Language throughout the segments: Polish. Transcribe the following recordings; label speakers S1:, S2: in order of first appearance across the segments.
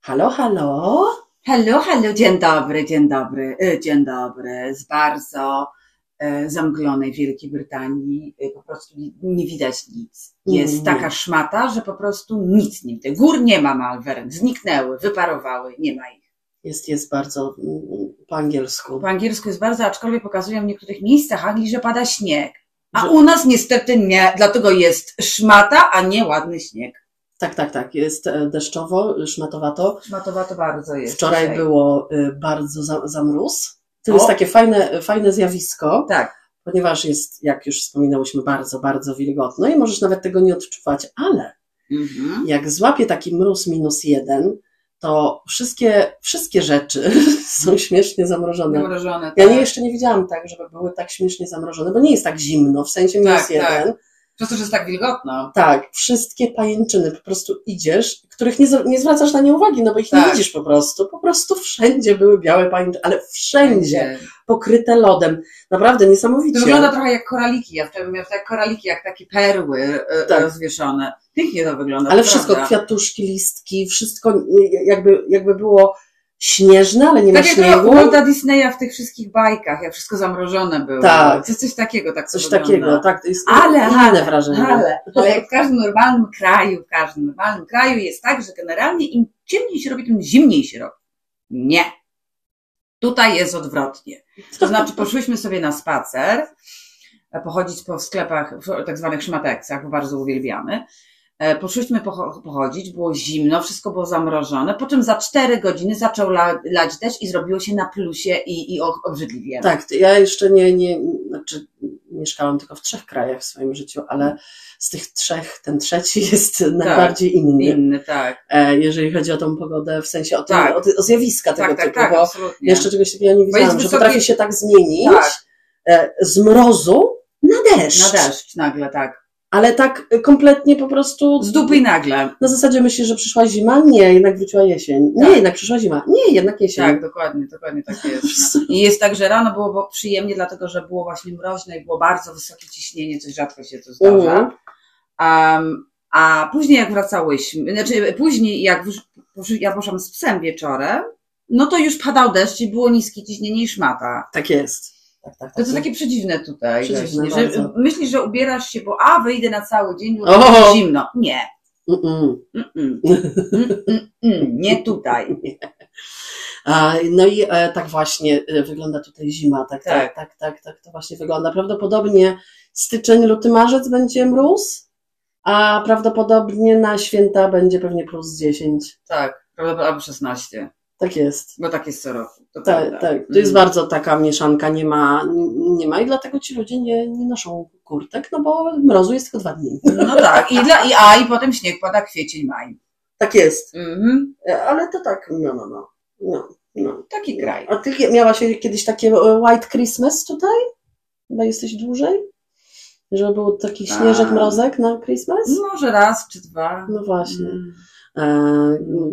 S1: Halo, halo. Hello, hello, dzień dobry, dzień dobry, e, dzień dobry. Z bardzo e, zamglonej Wielkiej Brytanii e, po prostu ni- nie widać nic. Jest
S2: Nie.
S1: taka szmata, że po prostu nic nie widać. Gór nie ma Malvern, zniknęły, wyparowały, nie ma ich.
S2: Jest, jest bardzo mm, po angielsku.
S1: Po angielsku jest bardzo, aczkolwiek pokazują w niektórych miejscach Anglii, że pada śnieg. A
S2: Że-
S1: u nas niestety nie, dlatego jest szmata, a nie ładny śnieg.
S2: Tak, tak, tak. Jest e, deszczowo, szmatowato.
S1: Szmatowato bardzo jest.
S2: Wczoraj
S1: dzisiaj.
S2: było y, bardzo za- zamróz. To
S1: O.
S2: jest takie fajne, fajne zjawisko,
S1: Tak.
S2: ponieważ jest, jak już wspominałyśmy, bardzo, bardzo wilgotno i możesz nawet tego nie odczuwać, ale
S1: Mhm.
S2: jak złapie taki mróz minus jeden, to wszystkie, wszystkie rzeczy są śmiesznie zamrożone.
S1: Zamrożone.
S2: Ja
S1: tak.
S2: nie, jeszcze nie widziałam tak, żeby były tak śmiesznie zamrożone, bo nie jest tak zimno, w sensie minus
S1: Tak, tak.
S2: jeden.
S1: Przez to, że jest tak wilgotno.
S2: Tak, wszystkie pajęczyny po prostu idziesz, których nie, z- nie zwracasz na nie uwagi, no bo ich
S1: Tak.
S2: nie widzisz po prostu. Po prostu wszędzie były białe pajęczyny, ale wszędzie pokryte lodem. Naprawdę
S1: To
S2: niesamowicie.
S1: wygląda trochę jak koraliki. Ja wtedy mówię, jak koraliki, jak takie perły e,
S2: Tak.
S1: rozwieszone. Pięknie to wygląda.
S2: ale
S1: to
S2: wszystko,
S1: prawda.
S2: kwiatuszki, listki, wszystko y, jakby, jakby było śnieżne, ale nie ma
S1: Tak jak u
S2: śniegu.
S1: Walta Disneya w tych wszystkich bajkach, jak wszystko zamrożone było.
S2: Tak.
S1: Coś, coś takiego, tak to
S2: Coś
S1: wygląda.
S2: takiego, tak, to jest
S1: Ale,
S2: inne
S1: ale,
S2: wrażenie.
S1: Ale, ale jak w każdym normalnym kraju, w każdym normalnym kraju jest tak, że generalnie im ciemniej się robi, tym zimniej się robi. Nie. Tutaj jest odwrotnie. To znaczy, poszłyśmy sobie na spacer, e, pochodzić po sklepach, w tak zwanych szmateksach, bo bardzo uwielbiamy. E, Poszłyśmy pocho- pochodzić, było zimno, wszystko było zamrożone, po czym za cztery godziny zaczął la- lać deszcz i zrobiło się na plusie i, i och- obrzydliwie.
S2: Tak, to ja jeszcze nie, nie, znaczy mieszkałam tylko w trzech krajach w swoim życiu, ale z tych trzech ten trzeci jest
S1: Tak.
S2: najbardziej inny.
S1: Inny, tak.
S2: e, jeżeli chodzi o tą pogodę, w sensie o, tym,
S1: Tak.
S2: o, ty, o zjawiska tego
S1: Tak, tak,
S2: typu,
S1: tak,
S2: bo
S1: absolutnie.
S2: jeszcze czegoś takiego nie widziałam, że
S1: wysoki-
S2: potrafi się tak zmienić
S1: Tak.
S2: e, z mrozu na deszcz.
S1: Na deszcz nagle, tak.
S2: Ale tak e, kompletnie po prostu
S1: Z dupy i nagle.
S2: Na zasadzie myślisz, że przyszła zima? Nie, jednak wróciła jesień. Nie,
S1: Tak.
S2: jednak przyszła zima. Nie, jednak jesień.
S1: Tak, dokładnie, dokładnie tak jest. no. I jest tak, że rano było bo- przyjemnie, dlatego że było właśnie mroźne i było bardzo wysokie ciśnienie, coś rzadko się to zdarza.
S2: Mhm.
S1: Em, a później jak wracałyśmy, znaczy później jak wrz- posz- ja poszłam z psem wieczorem, no to już padał deszcz i było niskie ciśnienie i szmata.
S2: tak jest. Tak, tak,
S1: To
S2: tak.
S1: jest takie przedziwne tutaj.
S2: Przedziwne
S1: właśnie, że
S2: bardzo.
S1: myślisz, że ubierasz się, bo a, wyjdę na cały dzień, bo
S2: O!
S1: będzie zimno. Nie.
S2: Mm-mm.
S1: Mm-mm. Mm-mm. Nie tutaj.
S2: A, No i e, tak właśnie e, wygląda tutaj zima. Tak, tak,
S1: Tak.
S2: tak, tak, tak to właśnie wygląda. Prawdopodobnie styczeń, luty, marzec będzie mróz, a prawdopodobnie na święta będzie pewnie plus 10.
S1: Tak, prawdopodobnie albo 16,
S2: Tak jest.
S1: bo tak jest co roku. To prawda.
S2: Tak, tak. To jest
S1: Mm.
S2: bardzo taka mieszanka, nie ma, nie ma i dlatego ci ludzie nie, nie noszą kurtek, no bo mrozu jest tylko dwa dni.
S1: No tak, i, dla, i, a i potem śnieg pada kwiecień, maj.
S2: Tak jest,
S1: Mhm.
S2: ale to tak, no, no, no. no, no.
S1: Taki kraj.
S2: A ty miałaś kiedyś takie e, White Christmas tutaj? Chyba jesteś dłużej? Że był taki
S1: Tak.
S2: śnieżek, mrozek na Christmas?
S1: Może raz czy dwa.
S2: No właśnie.
S1: Mm.
S2: E, no,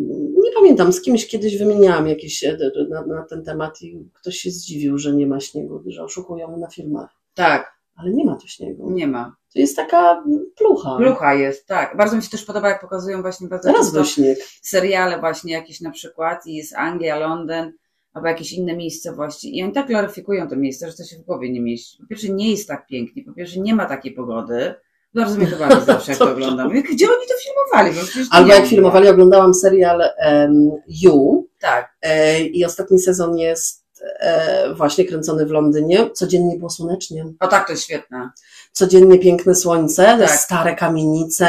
S2: nie pamiętam, z kimś kiedyś wymieniałam jakieś e, d- na, na ten temat i ktoś się zdziwił, że nie ma śniegu, że oszukują na filmach.
S1: Tak,
S2: Ale nie ma tu śniegu.
S1: nie ma.
S2: To jest taka plucha.
S1: Plucha jest, tak. Bardzo mi się też podoba, jak pokazują właśnie bardzo
S2: Teraz
S1: często
S2: był śnieg.
S1: seriale właśnie jakieś na przykład i jest Anglia, Londyn albo jakieś inne miejscowości i oni tak gloryfikują to miejsce, że to się w głowie nie mieści. Po pierwsze nie jest tak pięknie, po pierwsze nie ma takiej pogody. Bardzo mnie to bawi zawsze, jak to
S2: Dobrze.
S1: oglądam. Jak- Gdzie oni to filmowali? Bo przecież to
S2: Albo
S1: nie
S2: jak
S1: było.
S2: filmowali, oglądałam serial em, You
S1: Tak,
S2: e, i ostatni sezon jest e, właśnie kręcony w Londynie. Codziennie było słonecznie.
S1: o tak, to jest świetne.
S2: Codziennie piękne słońce,
S1: Tak. Mhm.
S2: stare kamienice,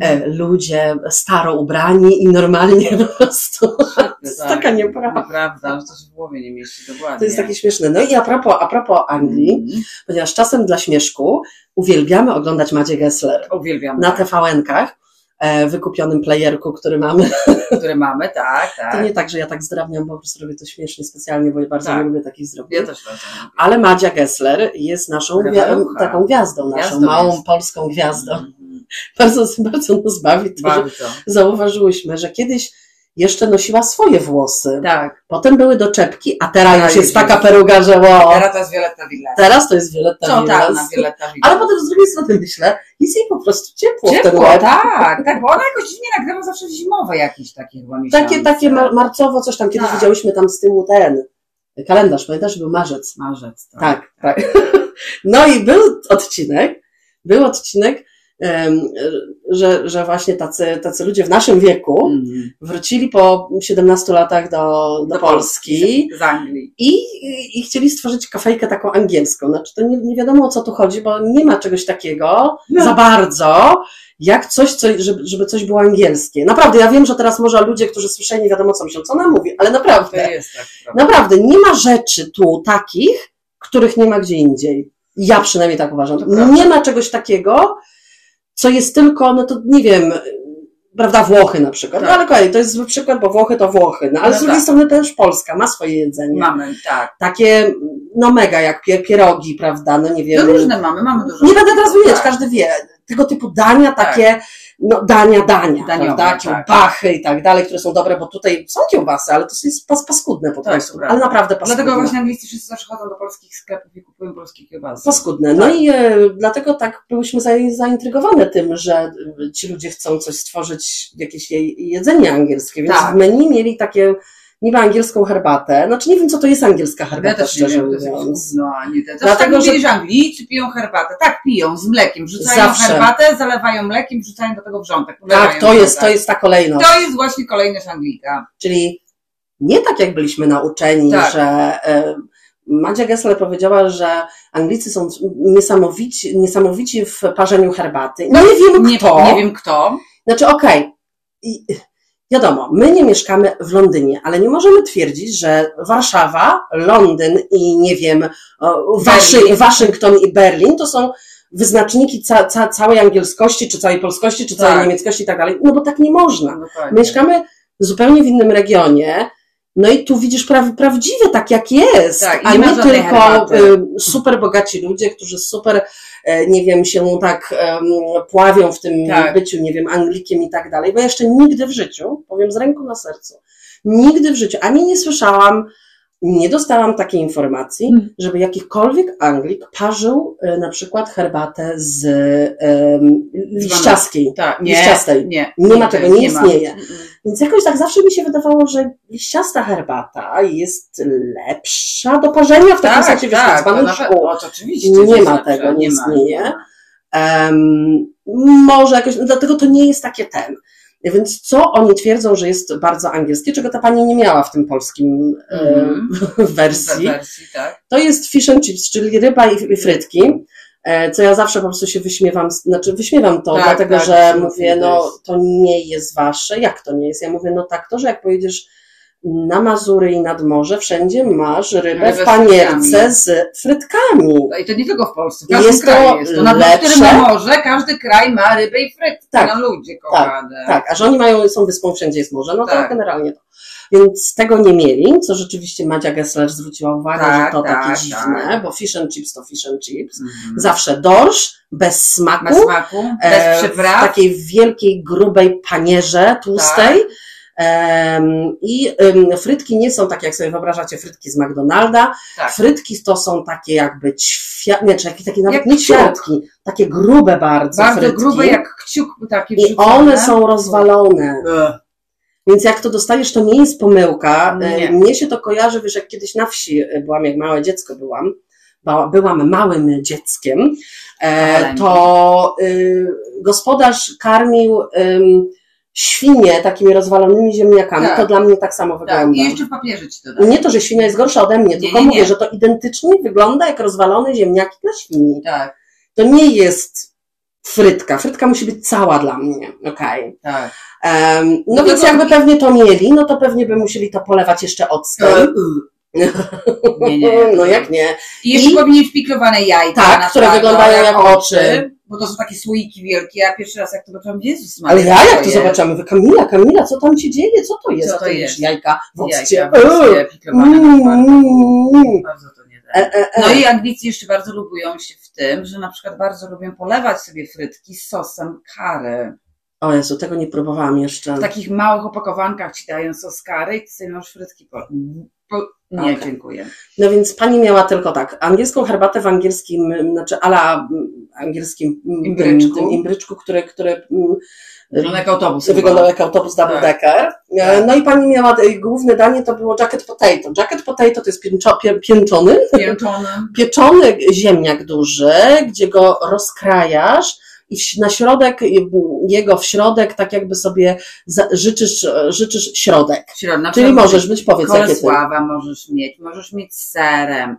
S2: e, ludzie staro ubrani i normalnie po prostu. To jest taka nieprawda.
S1: Nieprawda, że to się w głowie nie mieści, dokładnie.
S2: To jest takie śmieszne. No i a propos, a propos Anglii,
S1: Mhm.
S2: ponieważ czasem dla śmieszku uwielbiamy oglądać Madzie Gessler
S1: Uwielbiam,
S2: na
S1: tak,
S2: TVN-kach, e, wykupionym playerku, który mamy
S1: które mamy, tak,
S2: To
S1: tak.
S2: nie tak, że ja tak zdrabniam, po prostu robię to śmiesznie, specjalnie, bo ja bardzo
S1: Tak.
S2: nie lubię takich zdrobnień.
S1: Ja też bardzo lubię.
S2: Ale Madzia Gessler jest naszą
S1: Rewalucha.
S2: gwia- taką gwiazdą, naszą
S1: Gwiazdą
S2: małą
S1: jest.
S2: polską gwiazdą.
S1: Mhm.
S2: Bardzo, bardzo nas bawi to, że
S1: Bardzo.
S2: zauważyłyśmy, że kiedyś jeszcze nosiła swoje włosy.
S1: Tak.
S2: Potem były doczepki, a teraz
S1: Teraz
S2: już jest
S1: już
S2: taka
S1: jest.
S2: peruga, że wow.
S1: Teraz to jest Violetta Villa.
S2: Teraz to jest Violetta
S1: Co
S2: Villas.
S1: tam na Violetta Villa?
S2: Ale potem z drugiej strony myślę, jest jej po prostu ciepło, w ten
S1: Ciepło,
S2: łeb.
S1: tak, tak, bo ona jakoś nie nagrywa zawsze zimowe jakieś takie chyba miesiące.
S2: Takie, takie mar- marcowo coś tam, kiedyś
S1: Tak.
S2: widziałyśmy tam z tyłu ten kalendarz, pamiętasz, był marzec.
S1: Marzec, tak.
S2: Tak, tak. No i był odcinek, był odcinek, em, że, że właśnie tacy, tacy ludzie w naszym wieku
S1: Mhm.
S2: wrócili po 17 latach do, do,
S1: Do
S2: Polski,
S1: Z Anglii.
S2: I, i chcieli stworzyć kafejkę taką angielską. Znaczy to nie, nie wiadomo o co tu chodzi, bo nie ma czegoś takiego
S1: No.
S2: za bardzo, jak coś, co, żeby, żeby coś było angielskie. Naprawdę, ja wiem, że teraz może ludzie, którzy słyszeli, nie wiadomo co myślą, co ona mówi, ale
S1: To
S2: naprawdę,
S1: jest tak. prawda.
S2: naprawdę nie ma rzeczy tu takich, których nie ma gdzie indziej. Ja przynajmniej tak uważam.
S1: To prawda.
S2: Nie ma czegoś takiego, co jest tylko, no to nie wiem, prawda, Włochy na przykład.
S1: Tak.
S2: No ale kolej, to jest zły przykład, bo Włochy to Włochy, no ale
S1: No
S2: z drugiej
S1: tak.
S2: strony też Polska ma swoje jedzenie
S1: Mamy, tak.
S2: takie, no mega, jak pie- pierogi, prawda, no nie wiem.
S1: No różne mamy, mamy dużo.
S2: nie będę teraz wymieniać,
S1: Tak.
S2: każdy wie. Tego typu dania, takie, no dania, dania,
S1: Daniowe,
S2: prawda,
S1: tak.
S2: kiełbachy i tak dalej, które są dobre, bo tutaj są kiełbasy, ale to jest pas, paskudne po
S1: Tak,
S2: prostu,
S1: prawda.
S2: ale naprawdę paskudne.
S1: Dlatego właśnie anglicy wszyscy zawsze chodzą do polskich sklepów i kupują polskie kiełbasy.
S2: Paskudne.
S1: Tak.
S2: No i e, dlatego tak byłyśmy za- zaintrygowane tym, że e, ci ludzie chcą coś stworzyć, jakieś jej- jedzenie angielskie, więc
S1: Tak.
S2: w menu mieli takie niby angielską herbatę. Znaczy nie wiem, co to jest angielska herbata,
S1: Ja też nie
S2: szczerze
S1: wiem, to jest jakieś
S2: mówiąc.
S1: gówno, a nie te. Dlatego,
S2: Dlatego,
S1: tak
S2: że-
S1: mówili, że Anglicy piją herbatę. Tak, piją z mlekiem. Rzucają
S2: Zawsze.
S1: herbatę, zalewają mlekiem, wrzucają do tego wrzątek.
S2: Tak,
S1: Wlewają
S2: to jest, to
S1: wrzątek.
S2: jest ta kolejność.
S1: To jest właśnie kolejność Anglika.
S2: Czyli nie tak, jak byliśmy nauczeni,
S1: Tak.
S2: że e, Madzia Gessler powiedziała, że Anglicy są niesamowici, niesamowici w parzeniu herbaty. No nie wiem
S1: Nie,
S2: kto.
S1: nie wiem kto.
S2: Znaczy okej, I- wiadomo, my nie mieszkamy w Londynie, ale nie możemy twierdzić, że Warszawa, Londyn i nie wiem, o, Waszy,
S1: Berlin.
S2: Waszyngton i Berlin to są wyznaczniki ca, ca, całej angielskości, czy całej polskości, czy całej
S1: Tak.
S2: niemieckości i tak dalej. No bo tak nie można.
S1: Dokładnie.
S2: Mieszkamy zupełnie w innym regionie. No i tu widzisz pra- prawdziwie tak, jak jest,
S1: Tak, i
S2: a
S1: nie ma
S2: nie
S1: żadnej
S2: tylko
S1: herbaty.
S2: y, super bogaci ludzie, którzy super, e, nie wiem, się tak em, pławią w tym
S1: Tak.
S2: byciu, nie wiem, Anglikiem i tak dalej, bo ja jeszcze nigdy w życiu, powiem z ręką na sercu, nigdy w życiu ani nie słyszałam, nie dostałam takiej informacji,
S1: Mhm.
S2: żeby jakikolwiek Anglik parzył e, na przykład herbatę z em, liściaskiej.
S1: Tak,
S2: Liściastej.
S1: Nie,
S2: Nie ma tego, nie istnieje.
S1: Ma. Mm, mm.
S2: Więc jakoś tak zawsze mi się wydawało, że liściasta herbata jest lepsza do parzenia w takim
S1: Tak,
S2: sensie
S1: tak, to
S2: wystosowanym
S1: nawet-
S2: szkół.
S1: o, to oczywiście.
S2: Nie
S1: to jest
S2: ma
S1: lepsze,
S2: tego, nie
S1: ma.
S2: istnieje. Em, może jakoś, no dlatego to nie jest takie ten. Więc co oni twierdzą, że jest bardzo angielskie, czego ta pani nie miała w tym polskim
S1: Mhm.
S2: e,
S1: Wersji.
S2: wersji,
S1: Wersji, tak.
S2: to jest fish and chips, czyli ryba i i frytki, e, co ja zawsze po prostu się wyśmiewam, z- znaczy wyśmiewam to,
S1: Tak,
S2: dlatego
S1: tak,
S2: że
S1: to
S2: mówię,
S1: to
S2: no
S1: jest.
S2: to nie jest wasze, jak to nie jest? Ja mówię, no tak to, że jak pojedziesz na Mazury i nad morze, wszędzie masz rybę
S1: Rybę z
S2: w panierce
S1: frytkami.
S2: z frytkami.
S1: No I to nie tylko w Polsce, w każdym
S2: Jest to
S1: kraju jest. To
S2: lepsze.
S1: na którym na morze każdy kraj ma rybę i frytki.
S2: Tak.
S1: No ludzie kochane.
S2: Tak, a że oni mają, są wyspą, wszędzie jest morze, no to
S1: Tak.
S2: generalnie to. Więc tego nie mieli, co rzeczywiście Madzia Gessler zwróciła uwagę,
S1: Tak,
S2: że to
S1: tak,
S2: takie
S1: tak.
S2: dziwne, bo fish and chips to fish and chips.
S1: Mhm.
S2: Zawsze dorsz, bez
S1: Ma
S2: smaku, E,
S1: smaku, bez przypraw.
S2: w takiej wielkiej, grubej panierze tłustej.
S1: Tak.
S2: Em, I em, frytki nie są takie, jak sobie wyobrażacie, frytki z McDonalda.
S1: Tak.
S2: Frytki to są takie jakby ćwiartki, nie, czy jakieś takie nawet
S1: Jak
S2: nie
S1: kciuk.
S2: ćwiartki, takie grube bardzo,
S1: Bardzo
S2: frytki.
S1: grube, jak kciuk taki
S2: I
S1: wrzucone.
S2: one są rozwalone. Więc jak to dostajesz, to nie jest pomyłka.
S1: Nie.
S2: E, Mnie się to kojarzy, wiesz, jak kiedyś na wsi e, byłam, jak małe dziecko byłam, ba- byłam małym dzieckiem, e,
S1: Maleńkie.
S2: to y, gospodarz karmił ym, świnie takimi rozwalonymi ziemniakami.
S1: Tak.
S2: To dla mnie tak samo
S1: Tak,
S2: wygląda.
S1: i jeszcze w papierze ci to da.
S2: Nie to, że świnia jest gorsza ode mnie,
S1: Nie,
S2: tylko
S1: nie, nie.
S2: mówię, że to identycznie wygląda jak rozwalone ziemniaki dla świni.
S1: Tak,
S2: To nie jest frytka. Frytka musi być cała dla mnie. Okej.
S1: tak.
S2: Em, no,
S1: No
S2: więc
S1: to-
S2: jakby pewnie to mieli, no to pewnie by musieli to polewać jeszcze octem.
S1: E, Nie, nie.
S2: No jak nie?
S1: I jeszcze
S2: I-
S1: powinien wpiklowane jajka.
S2: Tak,
S1: na
S2: które
S1: twardo,
S2: wyglądają jak oczy.
S1: Bo to są takie słoiki wielkie. Ja pierwszy raz jak to zobaczyłam, Jezus Maria,
S2: Ale ja
S1: co
S2: jak to
S1: jest?
S2: zobaczyłam, mówię, Kamila, Kamila, co tam się dzieje? Co to jest?
S1: Co to
S2: Ty wiesz,
S1: jest?
S2: Jajka w occie.
S1: Jajka wroskie, piklowane na twardo.
S2: Mm.
S1: Bardzo to nie da.
S2: E, e, e.
S1: No i Anglicy jeszcze bardzo lubią się w tym, że na przykład bardzo lubią polewać sobie frytki z sosem curry.
S2: O Jezu, tego nie próbowałam jeszcze.
S1: W takich małych opakowankach ci dają soskary i ty sobie masz frytki po... po... Nie,
S2: Okej.
S1: dziękuję.
S2: No więc pani miała tylko tak, angielską herbatę w angielskim, mm, znaczy ala mm, angielskim mm,
S1: Imbryczku.
S2: Tym, tym imbryczku, które, które mm,
S1: No jak autobus. chyba.
S2: wyglądał jak autobus
S1: Tak.
S2: double decker. E, No i pani miała, e, główne danie to było jacket potato. Jacket potato to jest pięczo, pie, pięczony,
S1: Pięczony.
S2: pieczony ziemniak duży, gdzie go rozkrajasz i w, na środek, e, jego w środek, tak jakby sobie za, życzysz, e, życzysz środek.
S1: Środna,
S2: Czyli możesz być, powiedz, jakie ty.
S1: Kolesława możesz mieć, możesz mieć z serem,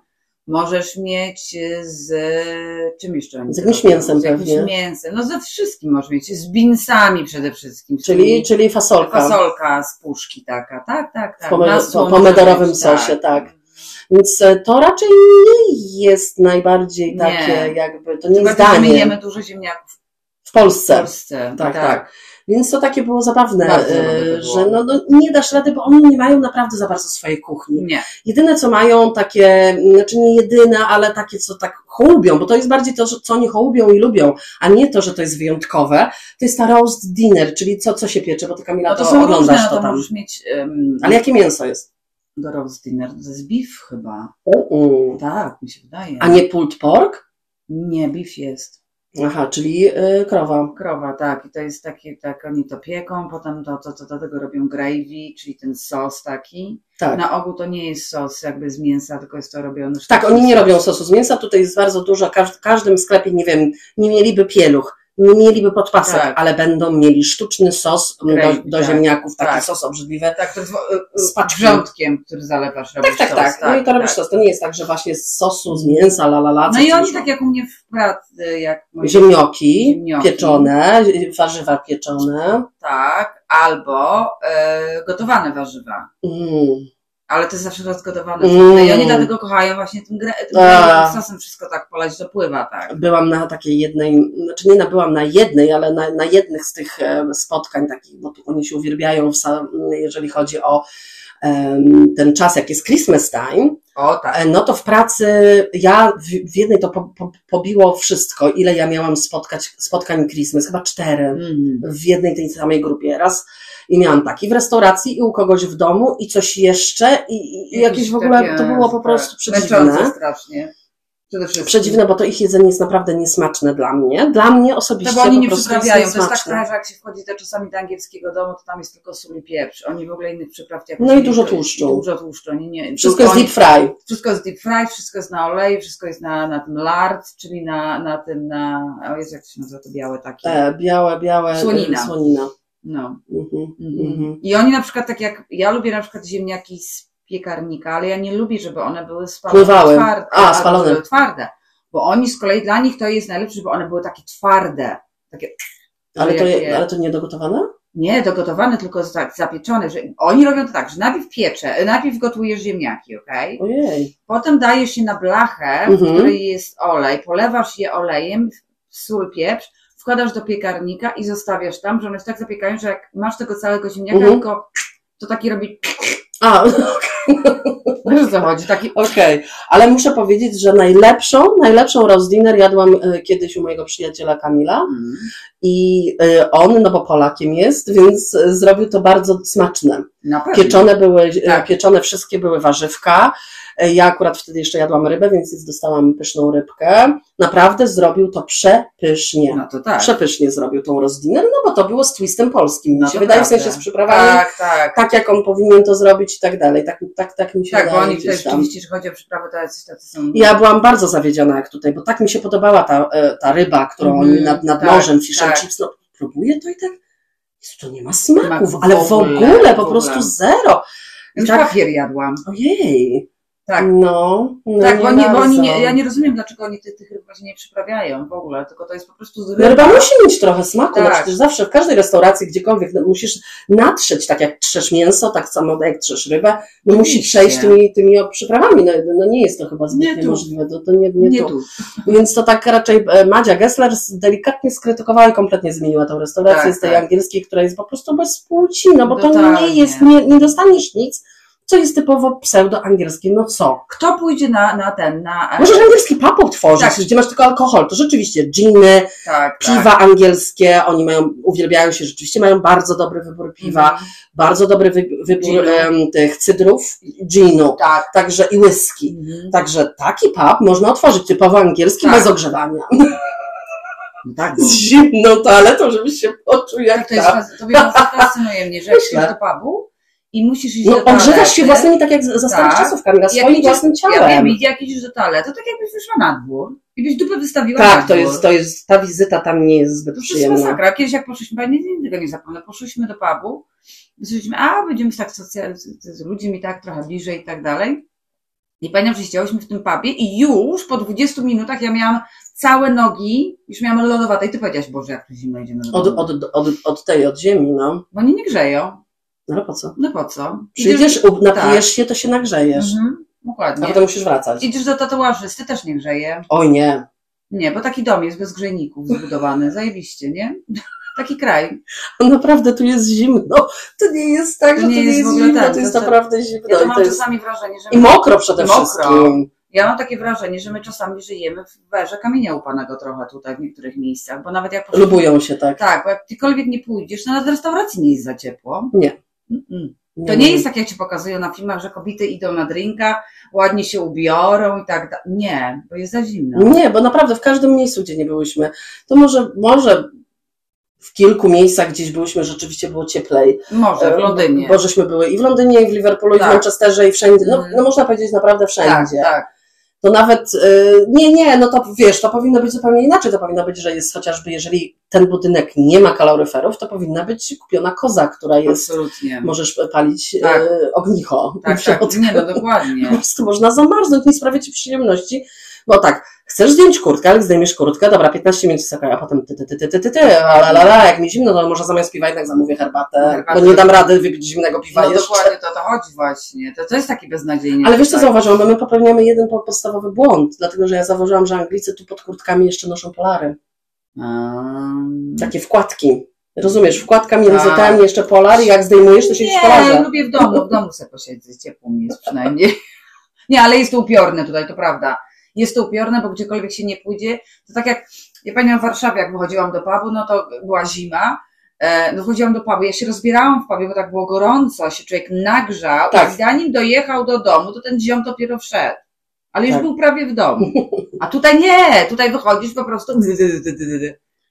S1: możesz mieć y, z czym jeszcze? oni
S2: Z jakimś
S1: robią?
S2: mięsem
S1: z jakimś
S2: pewnie.
S1: mięsem, no ze wszystkim możesz mieć, z binsami przede wszystkim. z
S2: Czyli,
S1: tymi-
S2: czyli fasolka.
S1: Mm. fasolka z puszki taka, tak, tak, tak.
S2: W pomelo-
S1: Na
S2: po-
S1: słoń
S2: pomidorowym
S1: mieć,
S2: sosie, tak. Więc e, to raczej nie jest najbardziej
S1: Nie.
S2: takie, jakby, to nie
S1: Chyba
S2: jest
S1: że my
S2: danie
S1: jemy dużo ziemniaków
S2: w
S1: w
S2: Polsce.
S1: Polsce.
S2: Tak, tak. Więc to takie było zabawne,
S1: Bardzo
S2: e,
S1: dobre to było.
S2: że no, no, nie dasz rady, bo oni nie mają naprawdę za bardzo swojej kuchni.
S1: Nie,
S2: Jedyne co mają takie, znaczy nie jedyne, ale takie co tak hołubią, bo to jest bardziej to, że- co oni hołubią i lubią, a nie to, że to jest wyjątkowe, to jest ta roast dinner, czyli co, co się piecze, bo ty Kamila
S1: no to
S2: to,
S1: są różne,
S2: oglądasz
S1: no
S2: to
S1: to
S2: tam.
S1: możesz mieć um,
S2: Ale jakie mięso jest?
S1: do roast dinner, z beef chyba.
S2: Mm.
S1: Tak, mi się wydaje.
S2: A nie pulled pork?
S1: nie, beef jest.
S2: Aha, czyli y, krowa.
S1: Krowa, tak. I to jest takie, tak, oni to pieką, potem to, to, to do tego robią gravy, czyli ten sos taki.
S2: Tak.
S1: Na ogół to nie jest sos jakby z mięsa, tylko jest to robione.
S2: Tak, oni nie robią sosu z mięsa, tutaj jest bardzo dużo, każ- w każdym sklepie, nie wiem, nie mieliby pieluch, nie mieliby podpasek,
S1: Tak.
S2: ale będą mieli sztuczny sos m,
S1: Gravy,
S2: do, do
S1: tak.
S2: ziemniaków, taki
S1: Tak.
S2: sos obrzydliwy.
S1: Tak, to jest
S2: Z
S1: z
S2: paczki.
S1: grządkiem, który zalewasz, robisz
S2: Tak, tak,
S1: sos,
S2: tak. No i to robisz
S1: tak.
S2: sos. To nie jest tak, że właśnie z sosu, z mięsa, la la la.
S1: No
S2: coś
S1: i
S2: tam
S1: oni
S2: szło.
S1: tak jak u mnie w pracy, jak moi
S2: Ziemnioki,
S1: Ziemnioki.
S2: pieczone, y, warzywa pieczone.
S1: tak, albo e, gotowane warzywa.
S2: Mm.
S1: Ale to jest zawsze rozgotowane.
S2: Mm.
S1: No i oni dlatego kochają właśnie tym, gra- tym
S2: A.
S1: sosem wszystko tak polać, dopływa, tak.
S2: Byłam na takiej jednej, znaczy nie na, byłam na jednej, ale na, na jednych z tych e, spotkań takich, bo tu oni się uwielbiają, w sam, jeżeli chodzi o em, ten czas, jak jest Christmas time,
S1: O tak.
S2: E, no to w pracy ja w, w jednej to po, po, pobiło wszystko, ile ja miałam spotkać, spotkań Christmas, chyba cztery
S1: Mm.
S2: w jednej tej samej grupie raz i miałam taki w restauracji i u kogoś w domu i coś jeszcze i, i, i jakieś w ogóle,
S1: takie,
S2: to było po prostu
S1: tak,
S2: przedziwne.
S1: męczące strasznie. Przede wszystkim.
S2: Przedziwne, bo to ich jedzenie jest naprawdę niesmaczne dla mnie. Dla mnie osobiście
S1: No bo oni
S2: po
S1: nie
S2: prostu
S1: przyprawiają.
S2: jest
S1: To jest tak
S2: niesmaczne.
S1: trochę, że jak się wchodzi to czasami do angielskiego domu, to tam jest tylko sól i pieprz. Oni w ogóle innych przypraw jakoś
S2: No i
S1: nie
S2: dużo
S1: użyją.
S2: tłuszczu.
S1: I Dużo tłuszczu. Oni nie,
S2: Wszystko jest
S1: oni-
S2: deep fry.
S1: Wszystko jest deep fried, wszystko jest na oleju, wszystko jest na, na tym lard, czyli na, na tym, na, o Jezu, jak to się nazywa to białe takie.
S2: E, białe, białe.
S1: Słonina.
S2: e, Słonina.
S1: No.
S2: Mhm,
S1: Mhm.
S2: mhm.
S1: I oni na przykład tak jak, ja lubię na przykład ziemniaki z piekarnika, ale ja nie lubię, żeby one były spalone.
S2: Pływały.
S1: Twarde,
S2: A,
S1: albo
S2: spalone.
S1: były Twarde. Bo oni z kolei, dla nich to jest najlepsze, żeby one były takie twarde. Takie,
S2: Ale,
S1: że
S2: to,
S1: jak
S2: je- ale to niedogotowane?
S1: Nie, dogotowane, tylko za- zapieczone. Że oni robią to tak, że najpierw piecze, najpierw gotujesz ziemniaki, okej?
S2: Ojej.
S1: Potem dajesz je na blachę, w
S2: Mhm.
S1: której jest olej, polewasz je olejem, sól, pieprz, wkładasz do piekarnika i zostawiasz tam, że one się tak zapiekają, że jak masz tego całego ziemniaka,
S2: Mhm.
S1: tylko to taki robi,
S2: A, No
S1: wiesz o co chodzi, taki
S2: Okej, ale muszę powiedzieć, że najlepszą, najlepszą roast dinner jadłam e, kiedyś u mojego przyjaciela Kamila
S1: mm,
S2: i e, on, no bo Polakiem jest, więc e, zrobił to bardzo smaczne.
S1: na pewno.
S2: Pieczone były, e,
S1: Tak.
S2: pieczone wszystkie były warzywka. E, Ja akurat wtedy jeszcze jadłam rybę, więc dostałam pyszną rybkę. Naprawdę zrobił to przepysznie.
S1: No to tak.
S2: Przepysznie zrobił tą roast dinner, no bo to było z twistem polskim, mi
S1: No
S2: się
S1: to
S2: wydaje, w
S1: prawda.
S2: sensie z przyprawami, tak.
S1: Tak, tak.
S2: jak on powinien to zrobić i tak dalej. Tak, tak, tak mi się
S1: Tak, bo
S2: wydaje
S1: oni
S2: gdzieś
S1: tutaj
S2: tam.
S1: rzeczywiście, że chodzi o przyprawę, to jest tacy są...
S2: Ja byłam bardzo zawiedziona jak tutaj, bo tak mi się podobała ta, e, ta ryba, którą
S1: Mhm,
S2: oni nad, nad
S1: tak,
S2: morzem fish and
S1: tak.
S2: chips. No, próbuję to i tak. Jezu, to nie ma smaków,
S1: Smaków
S2: ale
S1: w
S2: w ogóle,
S1: ogóle, w
S2: po
S1: ogóle.
S2: prostu zero.
S1: Już
S2: tak-
S1: papier jadłam.
S2: Ojej.
S1: Tak.
S2: No, no
S1: tak, bo,
S2: nie
S1: oni, bo oni
S2: bardzo.
S1: nie, ja nie rozumiem, dlaczego oni ty- tych ryb właśnie nie przyprawiają w ogóle, tylko to jest po prostu z
S2: No, ryba musi mieć trochę smaku,
S1: Tak.
S2: no przecież zawsze w każdej restauracji, gdziekolwiek, no, musisz natrzeć, tak jak trzesz mięso, tak samo jak trzesz rybę, no musi
S1: Oczywiście.
S2: przejść tymi, tymi przyprawami, no, no nie jest to chyba zbytnie
S1: Nie tu.
S2: możliwe, to, to nie, nie,
S1: Nie,
S2: to.
S1: tu.
S2: Więc to tak raczej e, Madzia Gessler s- delikatnie skrytykowała i kompletnie zmieniła tą restaurację
S1: Tak,
S2: z tej
S1: tak.
S2: angielskiej, która jest po prostu bez płci, no bo to
S1: Totalnie.
S2: nie jest, nie, nie dostaniesz nic, co jest typowo pseudoangielskie. No co?
S1: Kto pójdzie na, na ten, na...
S2: Możesz angielski pub otworzyć,
S1: Tak.
S2: gdzie masz tylko alkohol. To rzeczywiście giny,
S1: tak,
S2: piwa
S1: tak.
S2: angielskie, oni mają, uwielbiają się, rzeczywiście mają bardzo dobry wybór piwa,
S1: Mhm.
S2: bardzo dobry wy, wybór
S1: Ginu.
S2: em, tych cydrów, ginu,
S1: Tak.
S2: także i whisky.
S1: Mhm.
S2: Także taki pub można otworzyć typowo angielski,
S1: Tak.
S2: bez ogrzewania.
S1: No tak,
S2: Z zimną toaletą, żebyś się poczuł jak
S1: to jest,
S2: tam.
S1: fas- tobie to fascynuje mnie, że jak
S2: Myślę.
S1: idziesz do pubu i musisz iść do
S2: Tak. No,
S1: toalety.
S2: ogrzewasz się własnymi, tak jak za za starych
S1: Tak.
S2: czasów, Kamila,
S1: Jak
S2: swoim
S1: idziesz-
S2: własnym
S1: Ja wiem,
S2: ciałem.
S1: i jak idziesz do toalety, to tak jakbyś wyszła na dwór i byś dupę wystawiła na
S2: Tak,
S1: dwór.
S2: to jest, to jest, ta wizyta tam nie jest zbyt
S1: No. To jest
S2: przyjemna.
S1: masakra. Kiedyś jak poszliśmy, pani nigdy tego nie zapomnę, poszliśmy do pubu, myśleliśmy, a będziemy tak socjal, z, z ludźmi tak trochę bliżej i tak dalej. I pamiętam, że siedziałyśmy w tym pubie i już po 20 minutach ja miałam całe nogi, już miałam lodowate i ty powiedziałaś, Boże, jak tu zimno idziemy do
S2: Od,
S1: domu.
S2: od, od, od tej, od ziemi, no.
S1: Bo oni nie grzeją.
S2: No ale po co?
S1: No po co?
S2: Przyjdziesz,
S1: Idziesz-
S2: u- napijesz się, to się nagrzejesz.
S1: tak. Mhm,
S2: A
S1: dokładnie.
S2: potem musisz wracać.
S1: Idziesz do tatuażysty, też nie grzeje.
S2: Oj nie.
S1: Nie, bo taki dom jest bez grzejników zbudowany. Zajebiście, nie? Taki kraj.
S2: No, Naprawdę tu jest zimno. No, To nie jest tak,
S1: To
S2: że
S1: nie
S2: tu nie
S1: jest
S2: jest
S1: w ogóle
S2: zimno,
S1: tak,
S2: to jest
S1: to-
S2: naprawdę zimno.
S1: Ja
S2: No
S1: to
S2: i,
S1: mam
S2: to jest...
S1: czasami wrażenie, że...
S2: I mokro przede
S1: I mokro.
S2: wszystkim.
S1: Ja mam takie wrażenie, że my czasami żyjemy w werze kamienia upanego trochę tutaj w niektórych miejscach, bo nawet jak poszliśmy-
S2: Lubują się tak.
S1: Tak, bo jak gdziekolwiek nie pójdziesz, to nawet w restauracji nie jest za ciepło.
S2: Nie.
S1: Mm-mm. To nie jest tak, jak ci pokazują na filmach, że kobiety idą na drinka, ładnie się ubiorą i tak dalej. Nie, bo jest za zimno.
S2: Nie, bo naprawdę w każdym miejscu, gdzie nie byłyśmy, to może, może w kilku miejscach gdzieś byłyśmy, rzeczywiście było cieplej.
S1: Może w Londynie.
S2: Bo żeśmy były i w Londynie, i w Liverpoolu, i
S1: Tak.
S2: w Manchesterze, i wszędzie. No,
S1: Mhm.
S2: no można powiedzieć naprawdę
S1: tak,
S2: wszędzie.
S1: tak.
S2: to nawet, y, nie, nie, no to wiesz, to powinno być zupełnie inaczej, to powinno być, że jest chociażby, jeżeli ten budynek nie ma kaloryferów, to powinna być kupiona koza, która jest,
S1: Absolutnie.
S2: możesz palić
S1: Tak.
S2: y, ognicho
S1: Tak,
S2: w
S1: tak.
S2: środku.
S1: Nie, no
S2: Po
S1: dokładnie.
S2: prostu można zamarznąć, nie sprawia ci przyjemności, bo tak, chcesz zdjąć kurtkę, ale zdejmiesz kurtkę, dobra, 15 minut soka, a potem ty, ty, ty, ty, ty, ty, ty, la, la, la, jak mi zimno, to może zamiast piwa jednak zamówię herbatę,
S1: Herbatę.
S2: bo nie dam rady wypić zimnego piwa
S1: No
S2: jeszcze.
S1: dokładnie, to o to chodzi właśnie. To, to jest taki beznadziejny.
S2: Ale wiesz co
S1: tak.
S2: zauważyłam, Bo my popełniamy jeden po- podstawowy błąd, dlatego że ja zauważyłam, że Anglicy tu pod kurtkami jeszcze noszą polary.
S1: Ehm,
S2: Takie wkładki. Rozumiesz, wkładka między
S1: Tak.
S2: ten, jeszcze polar i jak zdejmujesz, to się
S1: Nie,
S2: w polarze.
S1: lubię w domu, w domu sobie posiedzieć, ciepło mi jest przynajmniej. Nie, ale jest to upiorne tutaj, to prawda. Jest to upiorne, bo gdziekolwiek się nie pójdzie, to tak jak, ja pamiętam w Warszawie, jak wychodziłam do pubu, no to była zima, e, no wchodziłam do pubu, ja się rozbierałam w pubie, bo tak było gorąco, się człowiek nagrzał
S2: Tak.
S1: i zanim dojechał do domu, to ten ziom dopiero wszedł. Ale już
S2: Tak.
S1: był prawie w domu. A tutaj nie, tutaj wychodzisz po prostu.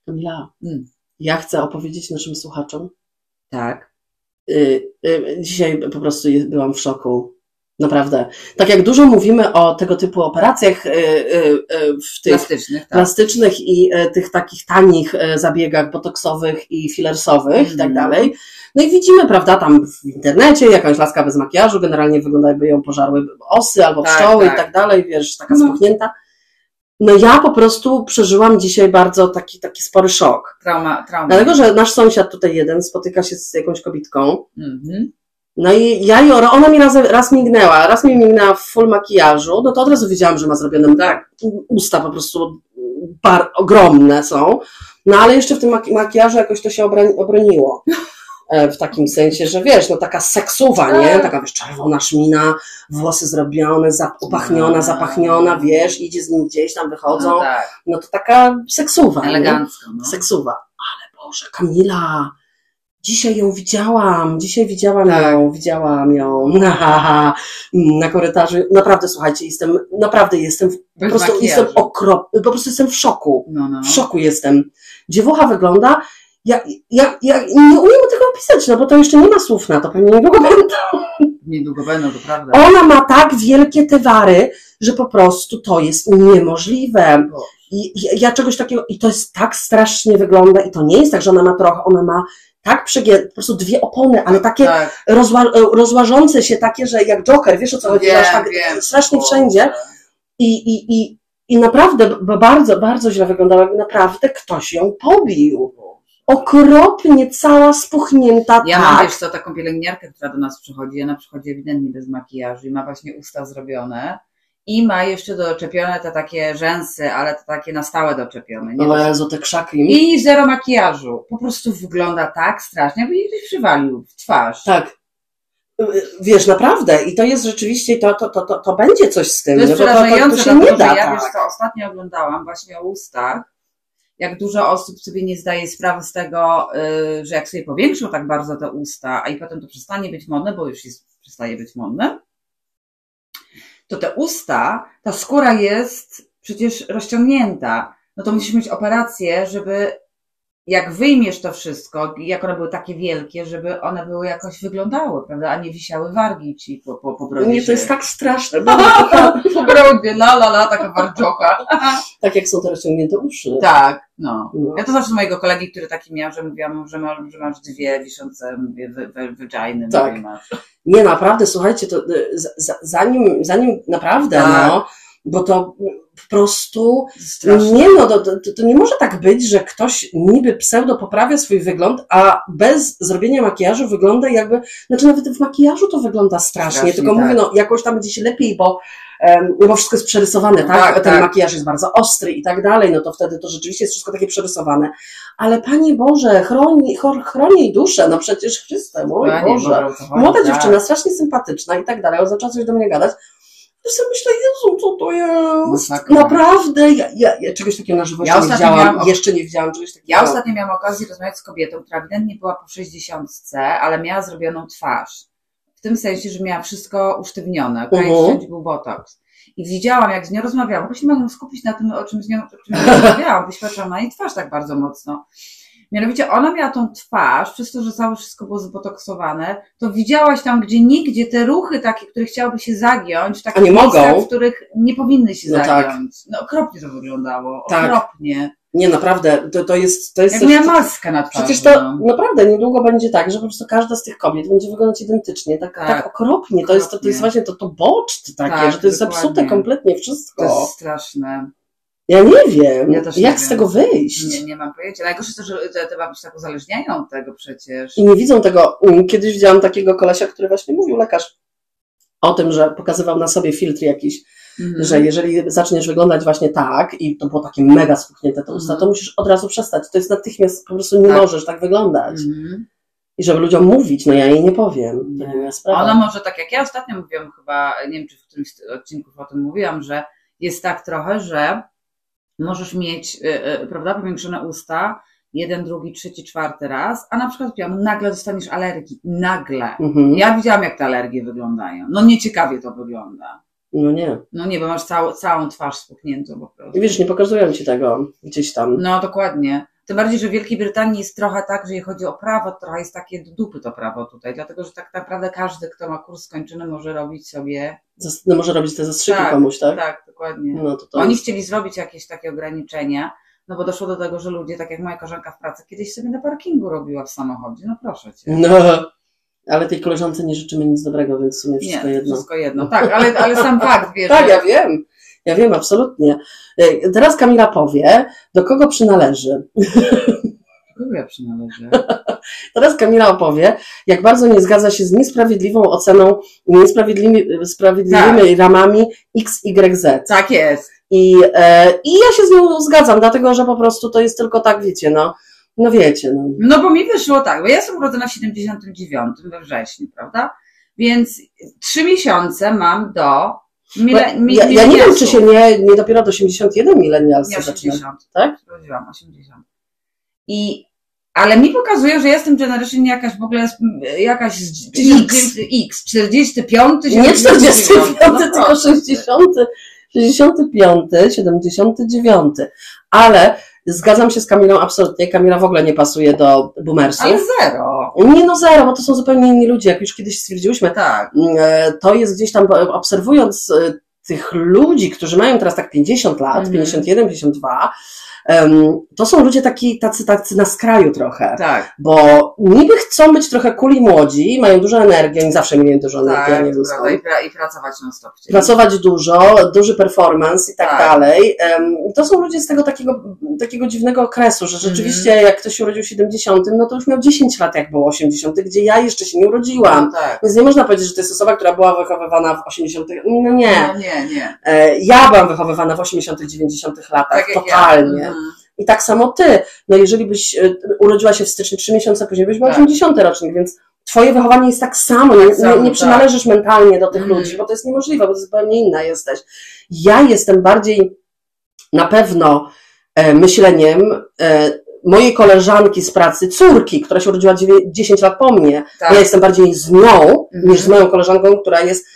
S2: Kamila,
S1: Mm.
S2: ja chcę opowiedzieć naszym słuchaczom.
S1: Tak.
S2: Y, y, dzisiaj po prostu je- byłam w szoku. Naprawdę. Tak jak dużo mówimy o tego typu operacjach y, y, y, w tych
S1: Plastycznych, tak.
S2: plastycznych i e, tych takich tanich e, zabiegach botoksowych i filersowych i tak
S1: Mhm.
S2: dalej. No i widzimy, prawda, tam w internecie jakaś laska bez makijażu, generalnie wygląda jakby ją pożarły osy albo
S1: Tak,
S2: pszczoły
S1: tak.
S2: i tak dalej, wiesz, taka
S1: No.
S2: spuchnięta. No ja po prostu przeżyłam dzisiaj bardzo taki, taki spory szok.
S1: Trauma, trauma.
S2: Dlatego, że nasz sąsiad tutaj jeden spotyka się z jakąś kobitką,
S1: Mhm.
S2: no i ja i ona, ona mi raz, raz mignęła, raz mi mignęła w full makijażu, no to od razu wiedziałam, że ma zrobione tak, usta po prostu bar, ogromne są, no ale jeszcze w tym maki- makijażu jakoś to się obra- obroniło. E, W takim sensie, że wiesz, no taka seksuwa,
S1: Tak.
S2: nie? Taka wiesz, czerwona szmina, włosy zrobione, zap- upachniona, zapachniona, wiesz, idzie z nim gdzieś tam, wychodzą.
S1: No tak,
S2: No to taka seksuwa, nie?
S1: elegancko. No.
S2: seksuwa. Ale Boże, Kamila, dzisiaj ją widziałam, dzisiaj widziałam
S1: Tak.
S2: ją, widziałam ją na, na korytarzu. Naprawdę, słuchajcie, jestem, naprawdę jestem, w- po
S1: Bez
S2: prostu
S1: makijażu.
S2: jestem okrop, po prostu jestem w szoku.
S1: No, no.
S2: W szoku jestem. Dziewucha wygląda, ja, ja, ja nie umiem tego opisać, no bo to jeszcze nie ma słów na to, pewnie niedługo będę.
S1: Niedługo będą, to prawda.
S2: Ona ma tak wielkie te wary, że po prostu to jest niemożliwe.
S1: Bo-
S2: I ja, ja czegoś takiego, i to jest tak strasznie wygląda, i to nie jest tak, że ona ma trochę, ona ma tak przegię, po prostu dwie opony, ale takie
S1: tak,
S2: rozła, e, rozłażące się, takie, że jak Joker, wiesz o co chodzi,
S1: wiem,
S2: masz tak
S1: wiem.
S2: strasznie
S1: Boże.
S2: wszędzie i, i, i, i naprawdę, bo bardzo, bardzo źle wyglądała, naprawdę ktoś ją pobił. Okropnie, cała spuchnięta,
S1: Ja mam
S2: tak.
S1: wiesz co, taką pielęgniarkę, która do nas przychodzi, ona przychodzi ewidentnie bez makijażu i ma właśnie usta zrobione i ma jeszcze doczepione te takie rzęsy, ale to takie na stałe doczepione. Nie?
S2: O Jezu, te krzaki.
S1: I zero makijażu. Po prostu wygląda tak strasznie, jakby jej ktoś przywalił w twarz.
S2: Tak. Wiesz, naprawdę. I to jest rzeczywiście, to, to, to, to, to będzie coś z tym.
S1: To jest
S2: no bo to, to, to
S1: przerażające,
S2: się
S1: dlatego,
S2: nie
S1: że
S2: da.
S1: ja
S2: tak.
S1: wiesz co, ostatnio oglądałam właśnie o ustach, jak dużo osób sobie nie zdaje sprawy z tego, y, że jak sobie powiększą tak bardzo te usta, a i potem to przestanie być modne, bo już jest, przestaje być modne, to te usta, ta skóra jest przecież rozciągnięta. No to musisz mieć operację, żeby jak wyjmiesz to wszystko, jak one były takie wielkie, żeby one były jakoś wyglądały, prawda, a nie wisiały wargi ci po, po, po brodzie
S2: Nie, to
S1: się.
S2: jest tak straszne. Bo
S1: Po brodzie, la la la, taka warczocha.
S2: tak jak są te rozciągnięte uszy.
S1: Tak, no.
S2: No.
S1: Ja to zawsze mojego kolegi, który taki miał, że mówiłam, mu, że masz, że masz dwie wiszące mówię, wy- wy- vaginy.
S2: Tak.
S1: mówię, masz.
S2: Nie, naprawdę, słuchajcie, to y, za- za- zanim, zanim naprawdę,
S1: Tak.
S2: no, bo to po prostu,
S1: Strasznie.
S2: nie no, to, to, to nie może tak być, że ktoś niby pseudo poprawia swój wygląd, a bez zrobienia makijażu wygląda jakby, znaczy nawet w makijażu to wygląda strasznie,
S1: Strasznie,
S2: tylko
S1: tak.
S2: mówię, no jakoś tam będzie się lepiej, bo, em, no, bo wszystko jest przerysowane, tak?
S1: Tak,
S2: Ten
S1: tak.
S2: makijaż jest bardzo ostry i tak dalej, no to wtedy to rzeczywiście jest wszystko takie przerysowane. Ale Panie Boże, chroni, chor- chroni jej duszę, no przecież Chryste, mój
S1: Panie
S2: Boże.
S1: Boże, o co chodzi,
S2: Młoda
S1: tak.
S2: dziewczyna, strasznie sympatyczna i tak dalej, ale zaczęła coś do mnie gadać. To sobie myślę, Jezu, co to jest?
S1: Masakra.
S2: Naprawdę, ja, ja, ja czegoś takiego na żywo
S1: Ja
S2: jeszcze nie
S1: ostatnio
S2: widziałam,
S1: miałam-
S2: jeszcze nie widziałam czegoś takiego.
S1: Ja ostatnio miałam okazję rozmawiać z kobietą, która ewidentnie była po 60, ale miała zrobioną twarz. W tym sensie, że miała wszystko usztywnione, okej,
S2: Mhm.
S1: wszędzie był botox. I widziałam, jak z nią rozmawiałam, bo się mogłam skupić na tym, o czym z nią, o czym rozmawiałam, wyświetlałam na jej twarz tak bardzo mocno. Mianowicie ona miała tą twarz, przez to, że całe wszystko było zbotoksowane, to widziałaś tam, gdzie nigdzie te ruchy takie, które chciałoby się zagiąć, w takich
S2: nie mogą.
S1: miejscach, w których nie powinny się
S2: No tak.
S1: zagiąć. No okropnie to wyglądało,
S2: Tak.
S1: okropnie.
S2: Nie, naprawdę, to, to jest... To jest
S1: Jak
S2: coś- tak
S1: miała maskę na twarzy.
S2: Przecież to
S1: no.
S2: naprawdę niedługo będzie tak, że po prostu każda z tych kobiet będzie wyglądać identycznie, tak, tak,
S1: Tak.
S2: okropnie. To jest, to, to jest
S1: Okropnie.
S2: właśnie to, to boczt takie,
S1: Tak,
S2: że to jest
S1: dokładnie.
S2: zepsute kompletnie
S1: To
S2: wszystko.
S1: jest straszne.
S2: Ja nie wiem,
S1: Ja też nie
S2: jak z
S1: wiem.
S2: tego wyjść.
S1: Nie, nie mam pojęcia. Najgorsze to, że te, te babci tak uzależniają od tego przecież.
S2: I nie widzą tego. Kiedyś widziałam takiego kolesia, który właśnie mówił, lekarz, o tym, że pokazywał na sobie filtr jakiś,
S1: Mhm.
S2: że jeżeli zaczniesz wyglądać właśnie tak i to było takie mega spuchnięte to usta,
S1: Mhm.
S2: to musisz od razu przestać. To jest natychmiast, po prostu nie
S1: Tak.
S2: możesz tak wyglądać.
S1: Mhm.
S2: I żeby ludziom mówić, no ja jej nie powiem.
S1: Nie.
S2: To nie moja sprawa.
S1: Ona może tak jak ja ostatnio mówiłam chyba, nie wiem czy w którymś z odcinków o tym mówiłam, że jest tak trochę, że możesz mieć, y, y, prawda, powiększone usta, jeden, drugi, trzeci, czwarty raz, a na przykład piąty, nagle dostaniesz alergii. Nagle.
S2: Mhm.
S1: Ja widziałam jak te alergie wyglądają. No nieciekawie to wygląda.
S2: No nie.
S1: No nie, bo masz całą, całą twarz spuchniętą po prostu.
S2: I wiesz, nie pokazują ci tego gdzieś tam.
S1: No dokładnie. Tym bardziej, że w Wielkiej Brytanii jest trochę tak, że jeśli chodzi o prawo, to trochę jest takie do dupy to prawo tutaj, dlatego że tak naprawdę każdy, kto ma kurs skończony, może robić sobie.
S2: Zas- No może robić te zastrzyki
S1: Tak,
S2: komuś, tak?
S1: Tak, dokładnie.
S2: No to to
S1: Oni
S2: jest...
S1: chcieli zrobić jakieś takie ograniczenia, no bo doszło do tego, że ludzie, tak jak moja koleżanka w pracy, kiedyś sobie na parkingu robiła w samochodzie. No proszę cię.
S2: No. Ale tej koleżance nie życzymy nic dobrego, więc w sumie wszystko jedno.
S1: wszystko jedno. Tak, ale, ale sam fakt, wiesz.
S2: Tak,
S1: że-
S2: ja wiem. Ja wiem, absolutnie. E, Teraz Kamila powie, do kogo przynależy.
S1: Kogo ja przynależę?
S2: Teraz Kamila opowie, jak bardzo nie zgadza się z niesprawiedliwą oceną, niesprawiedliwymi sprawiedliwymi ramami XYZ.
S1: Tak jest.
S2: I, e, I ja się z nią zgadzam, dlatego że po prostu to jest tylko tak, wiecie, no, no wiecie. No.
S1: No bo mi wyszło tak, bo ja jestem urodzona w 79 we wrześniu, prawda? Więc trzy miesiące mam do mile,
S2: No,
S1: mi,
S2: ja, ja nie wiem,
S1: milenialsów.
S2: czy się nie, nie dopiero do 81 milenialsy
S1: Nie,
S2: zaczyna.
S1: 80,
S2: tak?
S1: Urodziłam 80. I, ale mi pokazuje, że jestem generation jakaś w ogóle, jest, m, jakaś z- 1900 X, 45,
S2: Nie 45,
S1: no
S2: tylko
S1: proszę.
S2: 60, 65, 79. Ale zgadzam się z Kamilą absolutnie. Kamila w ogóle nie pasuje do
S1: Ale
S2: boomersów.
S1: zero.
S2: Nie no zero, bo to są zupełnie inni ludzie, jak już kiedyś stwierdziłyśmy.
S1: Tak.
S2: E, To jest gdzieś tam, e, obserwując e, tych ludzi, którzy mają teraz tak 50 lat,
S1: Mhm.
S2: 51, 52, em, to są ludzie taki, tacy, tacy na skraju trochę
S1: Tak,
S2: bo niby chcą być trochę kuli młodzi, mają dużo energii, oni zawsze mieli dużo energii, ja
S1: tak,
S2: nie wiem
S1: prawda, i,
S2: skąd.
S1: pra, i pracować na stopcie.
S2: Pracować dużo, duży performance i tak,
S1: Tak.
S2: dalej. Em, To są ludzie z tego takiego, takiego dziwnego okresu, że rzeczywiście jak ktoś się urodził w 70, no to już miał 10 lat, jak było 80, gdzie ja jeszcze się nie urodziłam.
S1: No, tak.
S2: Więc nie można powiedzieć, że to jest osoba, która była wychowywana w 80. No nie.
S1: No, nie, nie. Tak
S2: E, Ja byłam wychowywana w 80., 90. latach,
S1: jak ja.
S2: totalnie.
S1: Mhm.
S2: I tak samo ty. No jeżeli byś e, urodziła się w styczniu 3 miesiące później, byś była
S1: Tak.
S2: 80 rocznik, więc Twoje wychowanie jest tak samo, nie,
S1: Samo,
S2: nie, nie
S1: tak.
S2: przynależysz mentalnie do tych
S1: Mhm.
S2: ludzi, bo to jest niemożliwe, bo to zupełnie inna jesteś. Ja jestem bardziej na pewno e, myśleniem e, mojej koleżanki z pracy, córki, która się urodziła dziewię- 10 lat po mnie,
S1: Tak.
S2: ja jestem bardziej z nią
S1: Mhm.
S2: niż z moją koleżanką, która jest.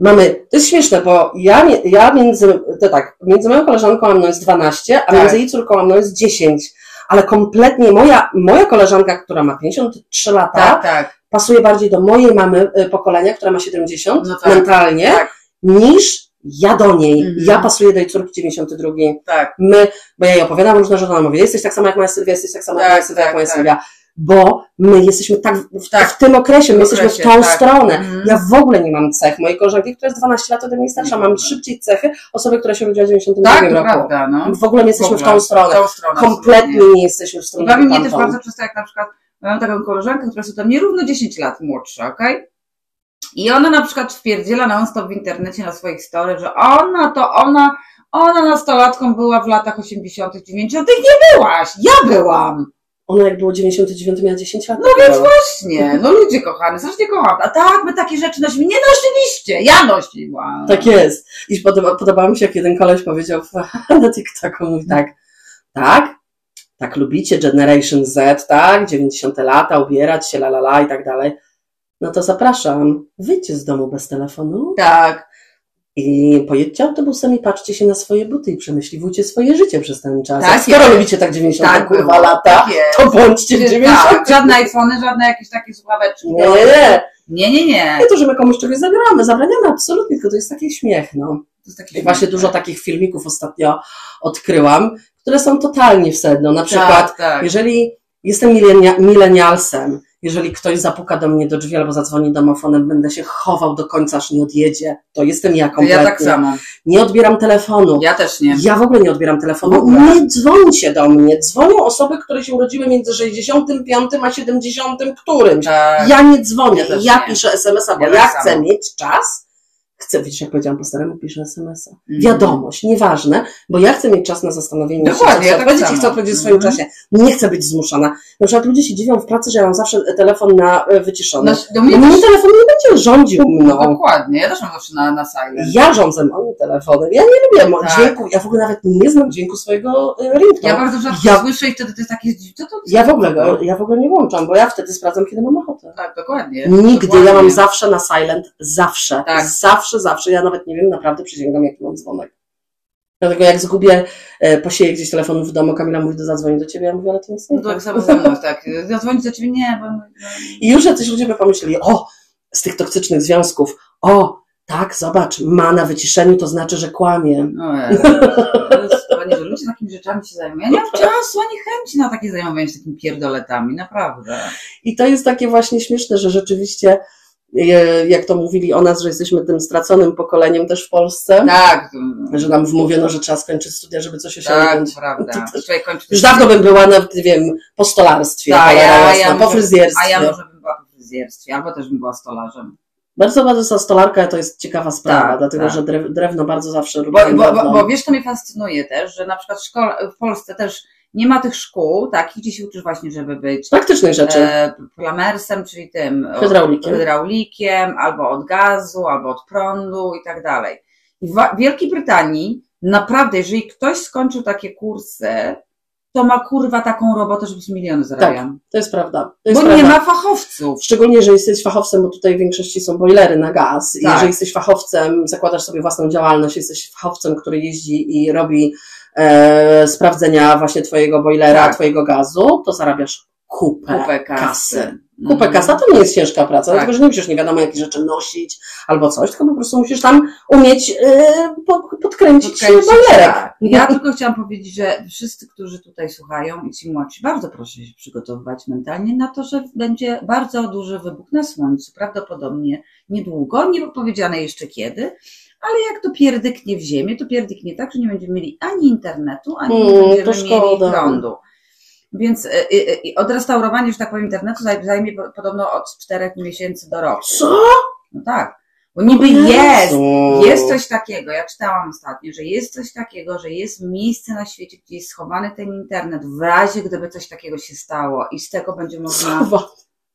S2: Mamy. To jest śmieszne, bo ja, nie- ja między. To tak, między moją koleżanką a mną jest 12, a
S1: Tak.
S2: między jej córką a mną jest 10. Ale kompletnie moja, moja koleżanka, która ma 53 lata,
S1: tak, tak.
S2: pasuje bardziej do mojej mamy y, pokolenia, która ma 70
S1: No tak,
S2: mentalnie,
S1: tak.
S2: niż ja do niej.
S1: Mhm.
S2: Ja pasuję do jej córki 92
S1: tak.
S2: my, bo ja jej opowiadam różne rzeczy, ona mówi, jesteś tak sama jak moja Sylwia, jesteś tak sama
S1: Tak,
S2: jak moja Sylwia,
S1: tak,
S2: jak moja
S1: tak.
S2: Sylwia. Bo my jesteśmy tak w,
S1: Tak.
S2: w tym okresie, my
S1: W
S2: jesteśmy w
S1: okresie,
S2: tą
S1: tak.
S2: stronę.
S1: Mhm.
S2: Ja w ogóle nie mam cech. Mojej koleżanki, która jest 12 lat ode mnie starsza, mam szybciej cechy osoby, która się urodziła w 92
S1: Mhm. Tak, to
S2: roku.
S1: prawda, no.
S2: W ogóle my jesteśmy w,
S1: ogóle,
S2: tą stronę.
S1: tą stronę
S2: Kompletnie nie jesteśmy w
S1: I
S2: stronę
S1: bawi No, mnie też
S2: tamtą.
S1: bardzo często, jak na przykład mam taką koleżankę, która jest ode mnie równo 10 lat młodsza, okej? I ona na przykład wpierdziela non stop w internecie na swoich story, że ona to ona, ona nastolatką była w latach 80 90 nie byłaś, ja byłam!
S2: Ona jak było 99, miała 10 lat.
S1: No więc właśnie, no ludzie kochani, strasznie kocham. A tak, my takie rzeczy nosimy. Nie nosiliście, ja nosiłam.
S2: Tak jest. I podoba, podobało mi się, jak jeden koleś powiedział w- na TikToku, mówi tak, tak, tak lubicie Generation Z, tak, 90 lata, ubierać się, la la la i tak dalej. No to zapraszam, wyjdźcie z domu bez telefonu
S1: Tak,
S2: i pojedźcie autobusem i patrzcie się na swoje buty i przemyśliwujcie swoje życie przez ten czas.
S1: Tak
S2: Tak, skoro
S1: jest.
S2: lubicie tak 90
S1: Tak
S2: kurwa
S1: było.
S2: lata,
S1: tak jest.
S2: to bądźcie w 90
S1: Tak, żadne iPhony, żadne jakieś takie słuchaweczki.
S2: Nie, nie, nie.
S1: nie, nie. nie.
S2: Nie to, że my komuś czegoś zabieramy, zabraniamy absolutnie, tylko to jest taki śmiech, no.
S1: To jest
S2: I
S1: takie
S2: właśnie dużo takich filmików ostatnio odkryłam, które są totalnie w sedno. Na przykład,
S1: Tak, tak.
S2: jeżeli jestem milenia- milenialsem, jeżeli ktoś zapuka do mnie do drzwi albo zadzwoni domofonem, będę się chował do końca, aż nie odjedzie. To jestem ja
S1: To
S2: kompletnie.
S1: ja tak samo.
S2: Nie odbieram telefonu.
S1: Ja też nie.
S2: Ja w ogóle nie odbieram telefonu.
S1: W ogóle.
S2: Nie dzwońcie do mnie. Dzwonią osoby, które się urodziły między 65 a 70 którymś.
S1: Tak.
S2: Ja nie dzwonię,
S1: Ja też
S2: ja
S1: nie.
S2: piszę SMS-a, bo
S1: Ja
S2: ja,
S1: tak samo.
S2: chcę mieć czas. Chcę, widzisz, jak powiedziałam po staremu, piszę SMS-a.
S1: Mhm.
S2: Wiadomość, nieważne, bo ja chcę mieć czas na zastanowienie
S1: Dokładnie,
S2: się,
S1: ja
S2: chcę
S1: tak
S2: odpowiedzieć
S1: samo.
S2: i chcę odpowiedzieć w swoim
S1: Mhm.
S2: czasie. Nie chcę być zmuszana. Na przykład ludzie się dziwią w pracy, że ja mam zawsze telefon na e, wyciszony.
S1: No,
S2: No,
S1: do mnie
S2: mój
S1: też,
S2: telefon nie będzie rządził mną.
S1: dokładnie, ja też mam zawsze na, na silent.
S2: Ja rządzę moim telefonem. Ja nie lubię mo-
S1: Tak.
S2: dźwięku. Ja w ogóle nawet nie znam dźwięku swojego e,
S1: Ja
S2: ringtonu.
S1: bardzo rzadko
S2: Ja-
S1: słyszę i wtedy to jest takie, co to
S2: Ja w ogóle go, ja w ogóle nie łączam, bo ja wtedy sprawdzam, kiedy mam ochotę.
S1: Tak, dokładnie.
S2: Nigdy,
S1: dokładnie.
S2: ja mam zawsze na silent, zawsze,
S1: Tak.
S2: zawsze, zawsze, ja nawet nie wiem, naprawdę przysięgam, jaki mam dzwonek. Dlatego jak zgubię, e, posieję gdzieś telefon w domu, Kamila mówi, do zadzwoni do ciebie, ja mówię, ale to nic nie
S1: No tak
S2: ma.
S1: samo ze mną, tak. Zadzwonić do ciebie, nie, bo...
S2: I już jacyś ludzie by pomyśleli, o, z tych toksycznych związków, o, tak, zobacz, ma na wyciszeniu, to znaczy, że kłamie.
S1: No, ja, to jest fajnie, że ludzie takimi rzeczami się zajmują. Ja nie mam czasu ani chęci na takie zajmowanie się takimi pierdoletami, naprawdę.
S2: I to jest takie właśnie śmieszne, że rzeczywiście, e, jak to mówili o nas, że jesteśmy tym straconym pokoleniem też w Polsce,
S1: Tak,
S2: że nam wmówiono, że trzeba skończyć studia, żeby coś
S1: tak,
S2: osiągnąć.
S1: prawda. Człowiek kończy...
S2: Już dawno bym była na, nie wiem, po stolarstwie,
S1: Tak,
S2: cholera
S1: ja-
S2: jasna,
S1: ja
S2: po
S1: może-
S2: fryzjerstwie.
S1: A ja może bym była po fryzjerstwie, albo też bym była stolarzem.
S2: Bardzo, bardzo za stolarka to jest ciekawa sprawa,
S1: Tak,
S2: dlatego
S1: tak.
S2: że drew- drewno bardzo zawsze
S1: Bo,
S2: lubiłam
S1: bo,
S2: drewno.
S1: bo, bo wiesz, to mnie fascynuje też, że na przykład szkoła, w Polsce też nie ma tych szkół takich, gdzie się uczysz właśnie, żeby być
S2: Praktycznych rzeczy,
S1: e, plamersem, czyli tym
S2: Tak,
S1: o,
S2: znaczy-
S1: e.
S2: hydraulikiem.
S1: hydraulikiem, albo od gazu, albo od prądu i tak dalej. I w Wa- Wielkiej Brytanii naprawdę, jeżeli ktoś skończył takie kursy, to ma kurwa taką robotę, żeby z miliony zarabiał.
S2: Tak, To jest prawda. To
S1: bo
S2: jest
S1: nie
S2: prawda.
S1: ma fachowców.
S2: Szczególnie, że jesteś fachowcem, bo tutaj w większości są bojlery na gaz. I
S1: Tak.
S2: Jeżeli jesteś fachowcem, zakładasz sobie własną działalność, jesteś fachowcem, który jeździ i robi e, sprawdzenia właśnie twojego bojlera,
S1: Tak.
S2: twojego gazu, to zarabiasz kupę,
S1: Kupę
S2: kasy.
S1: E, kasy. Mhm.
S2: Kupę kasa to nie jest ciężka praca,
S1: Tak.
S2: dlatego że nie musisz nie wiadomo jakie rzeczy nosić albo coś, tylko po prostu musisz tam umieć e, po, podkręcić,
S1: Podkręcić,
S2: podkręcić boilerek.
S1: tak. Ja tylko chciałam powiedzieć, że wszyscy, którzy tutaj słuchają i ci młodzi, bardzo proszę się przygotowywać mentalnie na to, że będzie bardzo duży wybuch na słońcu, prawdopodobnie niedługo, nie było powiedziane jeszcze kiedy, ale jak to pierdyknie w ziemię, to pierdyknie tak, że nie będziemy mieli ani internetu, ani
S2: Mm,
S1: nie
S2: to
S1: będziemy mieli
S2: szkoda.
S1: prądu. Więc y, y, y, odrestaurowanie, że tak powiem, internetu zaj- zajmie po- podobno od czterech miesięcy do roku.
S2: Co?
S1: No tak, bo niby jest,
S2: Jezu.
S1: jest coś takiego, ja czytałam ostatnio, że jest coś takiego, że jest miejsce na świecie, gdzie jest schowany ten internet, w razie gdyby coś takiego się stało i z tego będzie można
S2: Kurwa.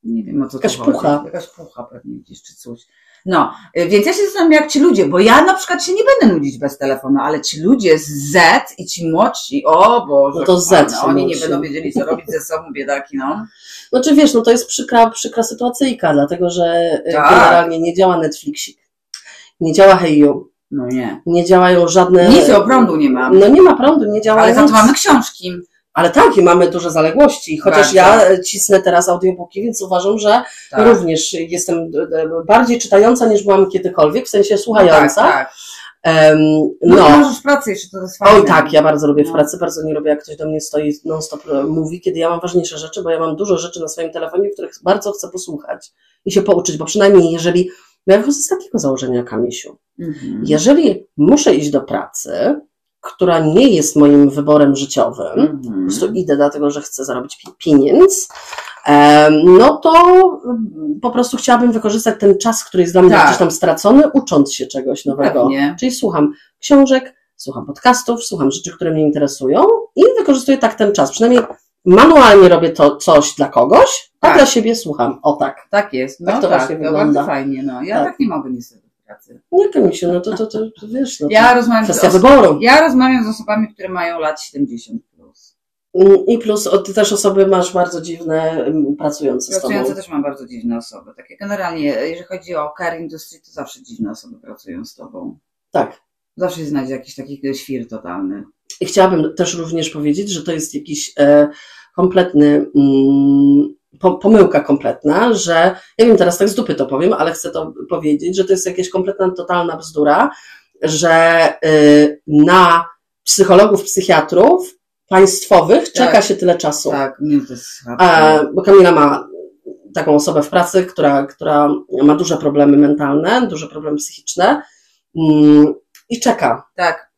S1: Nie wiem o co
S2: Jakaś
S1: to chodzi.
S2: pucha.
S1: Jakaś pucha pewnie gdzieś czy coś. No, y, więc ja się zastanawiam, jak ci ludzie, bo ja na przykład się nie będę nudzić bez telefonu, ale ci ludzie z Z i ci młodsi, o Boże,
S2: No to Z
S1: kochany,
S2: się
S1: oni nie
S2: młodsi.
S1: będą wiedzieli, co robić ze sobą, biedaki, no.
S2: Znaczy wiesz, no to jest przykra, przykra sytuacyjka, dlatego że y,
S1: Tak.
S2: generalnie nie działa Netflixik, nie działa Heyu,
S1: No nie.
S2: nie działają żadne...
S1: Nic o prądu nie mamy.
S2: E, No nie ma prądu, nie działa
S1: Ale za to
S2: nic.
S1: mamy książki.
S2: Ale tak, i mamy duże zaległości, chociaż
S1: Bardzo.
S2: ja e, cisnę teraz audiobooki, więc uważam, że
S1: Tak.
S2: również jestem e, e, bardziej czytająca niż byłam kiedykolwiek, w sensie
S1: tak,
S2: słuchająca.
S1: tak.
S2: Em,
S1: No,
S2: no.
S1: no. możesz pracę jeszcze, to jest fajne.
S2: Oj tak, ja bardzo lubię w
S1: No.
S2: pracy, bardzo nie lubię jak ktoś do mnie stoi non stop e, mówi, kiedy ja mam ważniejsze rzeczy, bo ja mam dużo rzeczy na swoim telefonie, których bardzo chcę posłuchać i się pouczyć, bo przynajmniej jeżeli, bo ja wychodzę z takiego założenia, Kamisiu,
S1: Mhm.
S2: jeżeli muszę iść do pracy, która nie jest moim wyborem życiowym,
S1: Mhm.
S2: po prostu idę dlatego, że chcę zarobić pi- pieniądz, em, no to mm, po prostu chciałabym wykorzystać ten czas, który jest dla mnie
S1: Tak.
S2: gdzieś tam stracony, ucząc się czegoś nowego.
S1: Pewnie.
S2: Czyli słucham książek, słucham podcastów, słucham rzeczy, które mnie interesują i wykorzystuję tak ten czas. Przynajmniej manualnie robię to coś dla kogoś, a
S1: Tak.
S2: dla siebie słucham. O tak.
S1: Tak jest, no
S2: Tak
S1: tak,
S2: to
S1: to,
S2: właśnie wygląda.
S1: bardzo fajnie, no. Ja
S2: Tak.
S1: tak, nie mogę niestety w pracy.
S2: Nie wiem się, no to, to, to, to wiesz, no to
S1: Ja rozmawiam, z
S2: kwestia
S1: os-
S2: wyboru.
S1: ja rozmawiam z osobami, które mają lat 70 plus.
S2: Mm, I plus o, ty też osoby masz bardzo dziwne mm, pracujące z tobą.
S1: Pracujące też mam bardzo dziwne osoby. Takie generalnie, jeżeli chodzi o care industry, to zawsze dziwne osoby pracują z tobą.
S2: Tak.
S1: Zawsze się znajdzie jakiś taki świr totalny.
S2: I chciałabym też również powiedzieć, że to jest jakiś e, kompletny, mm, po, pomyłka kompletna, że ja wiem teraz tak z dupy to powiem, ale chcę to powiedzieć, że to jest jakaś kompletna, totalna bzdura, że y, na psychologów, psychiatrów państwowych czeka
S1: Tak.
S2: się tyle czasu.
S1: Tak, nie, to jest
S2: A,
S1: chata.
S2: bo Kamila ma taką osobę w pracy, która, która ma duże problemy mentalne, duże problemy psychiczne mm, i czeka.
S1: Tak,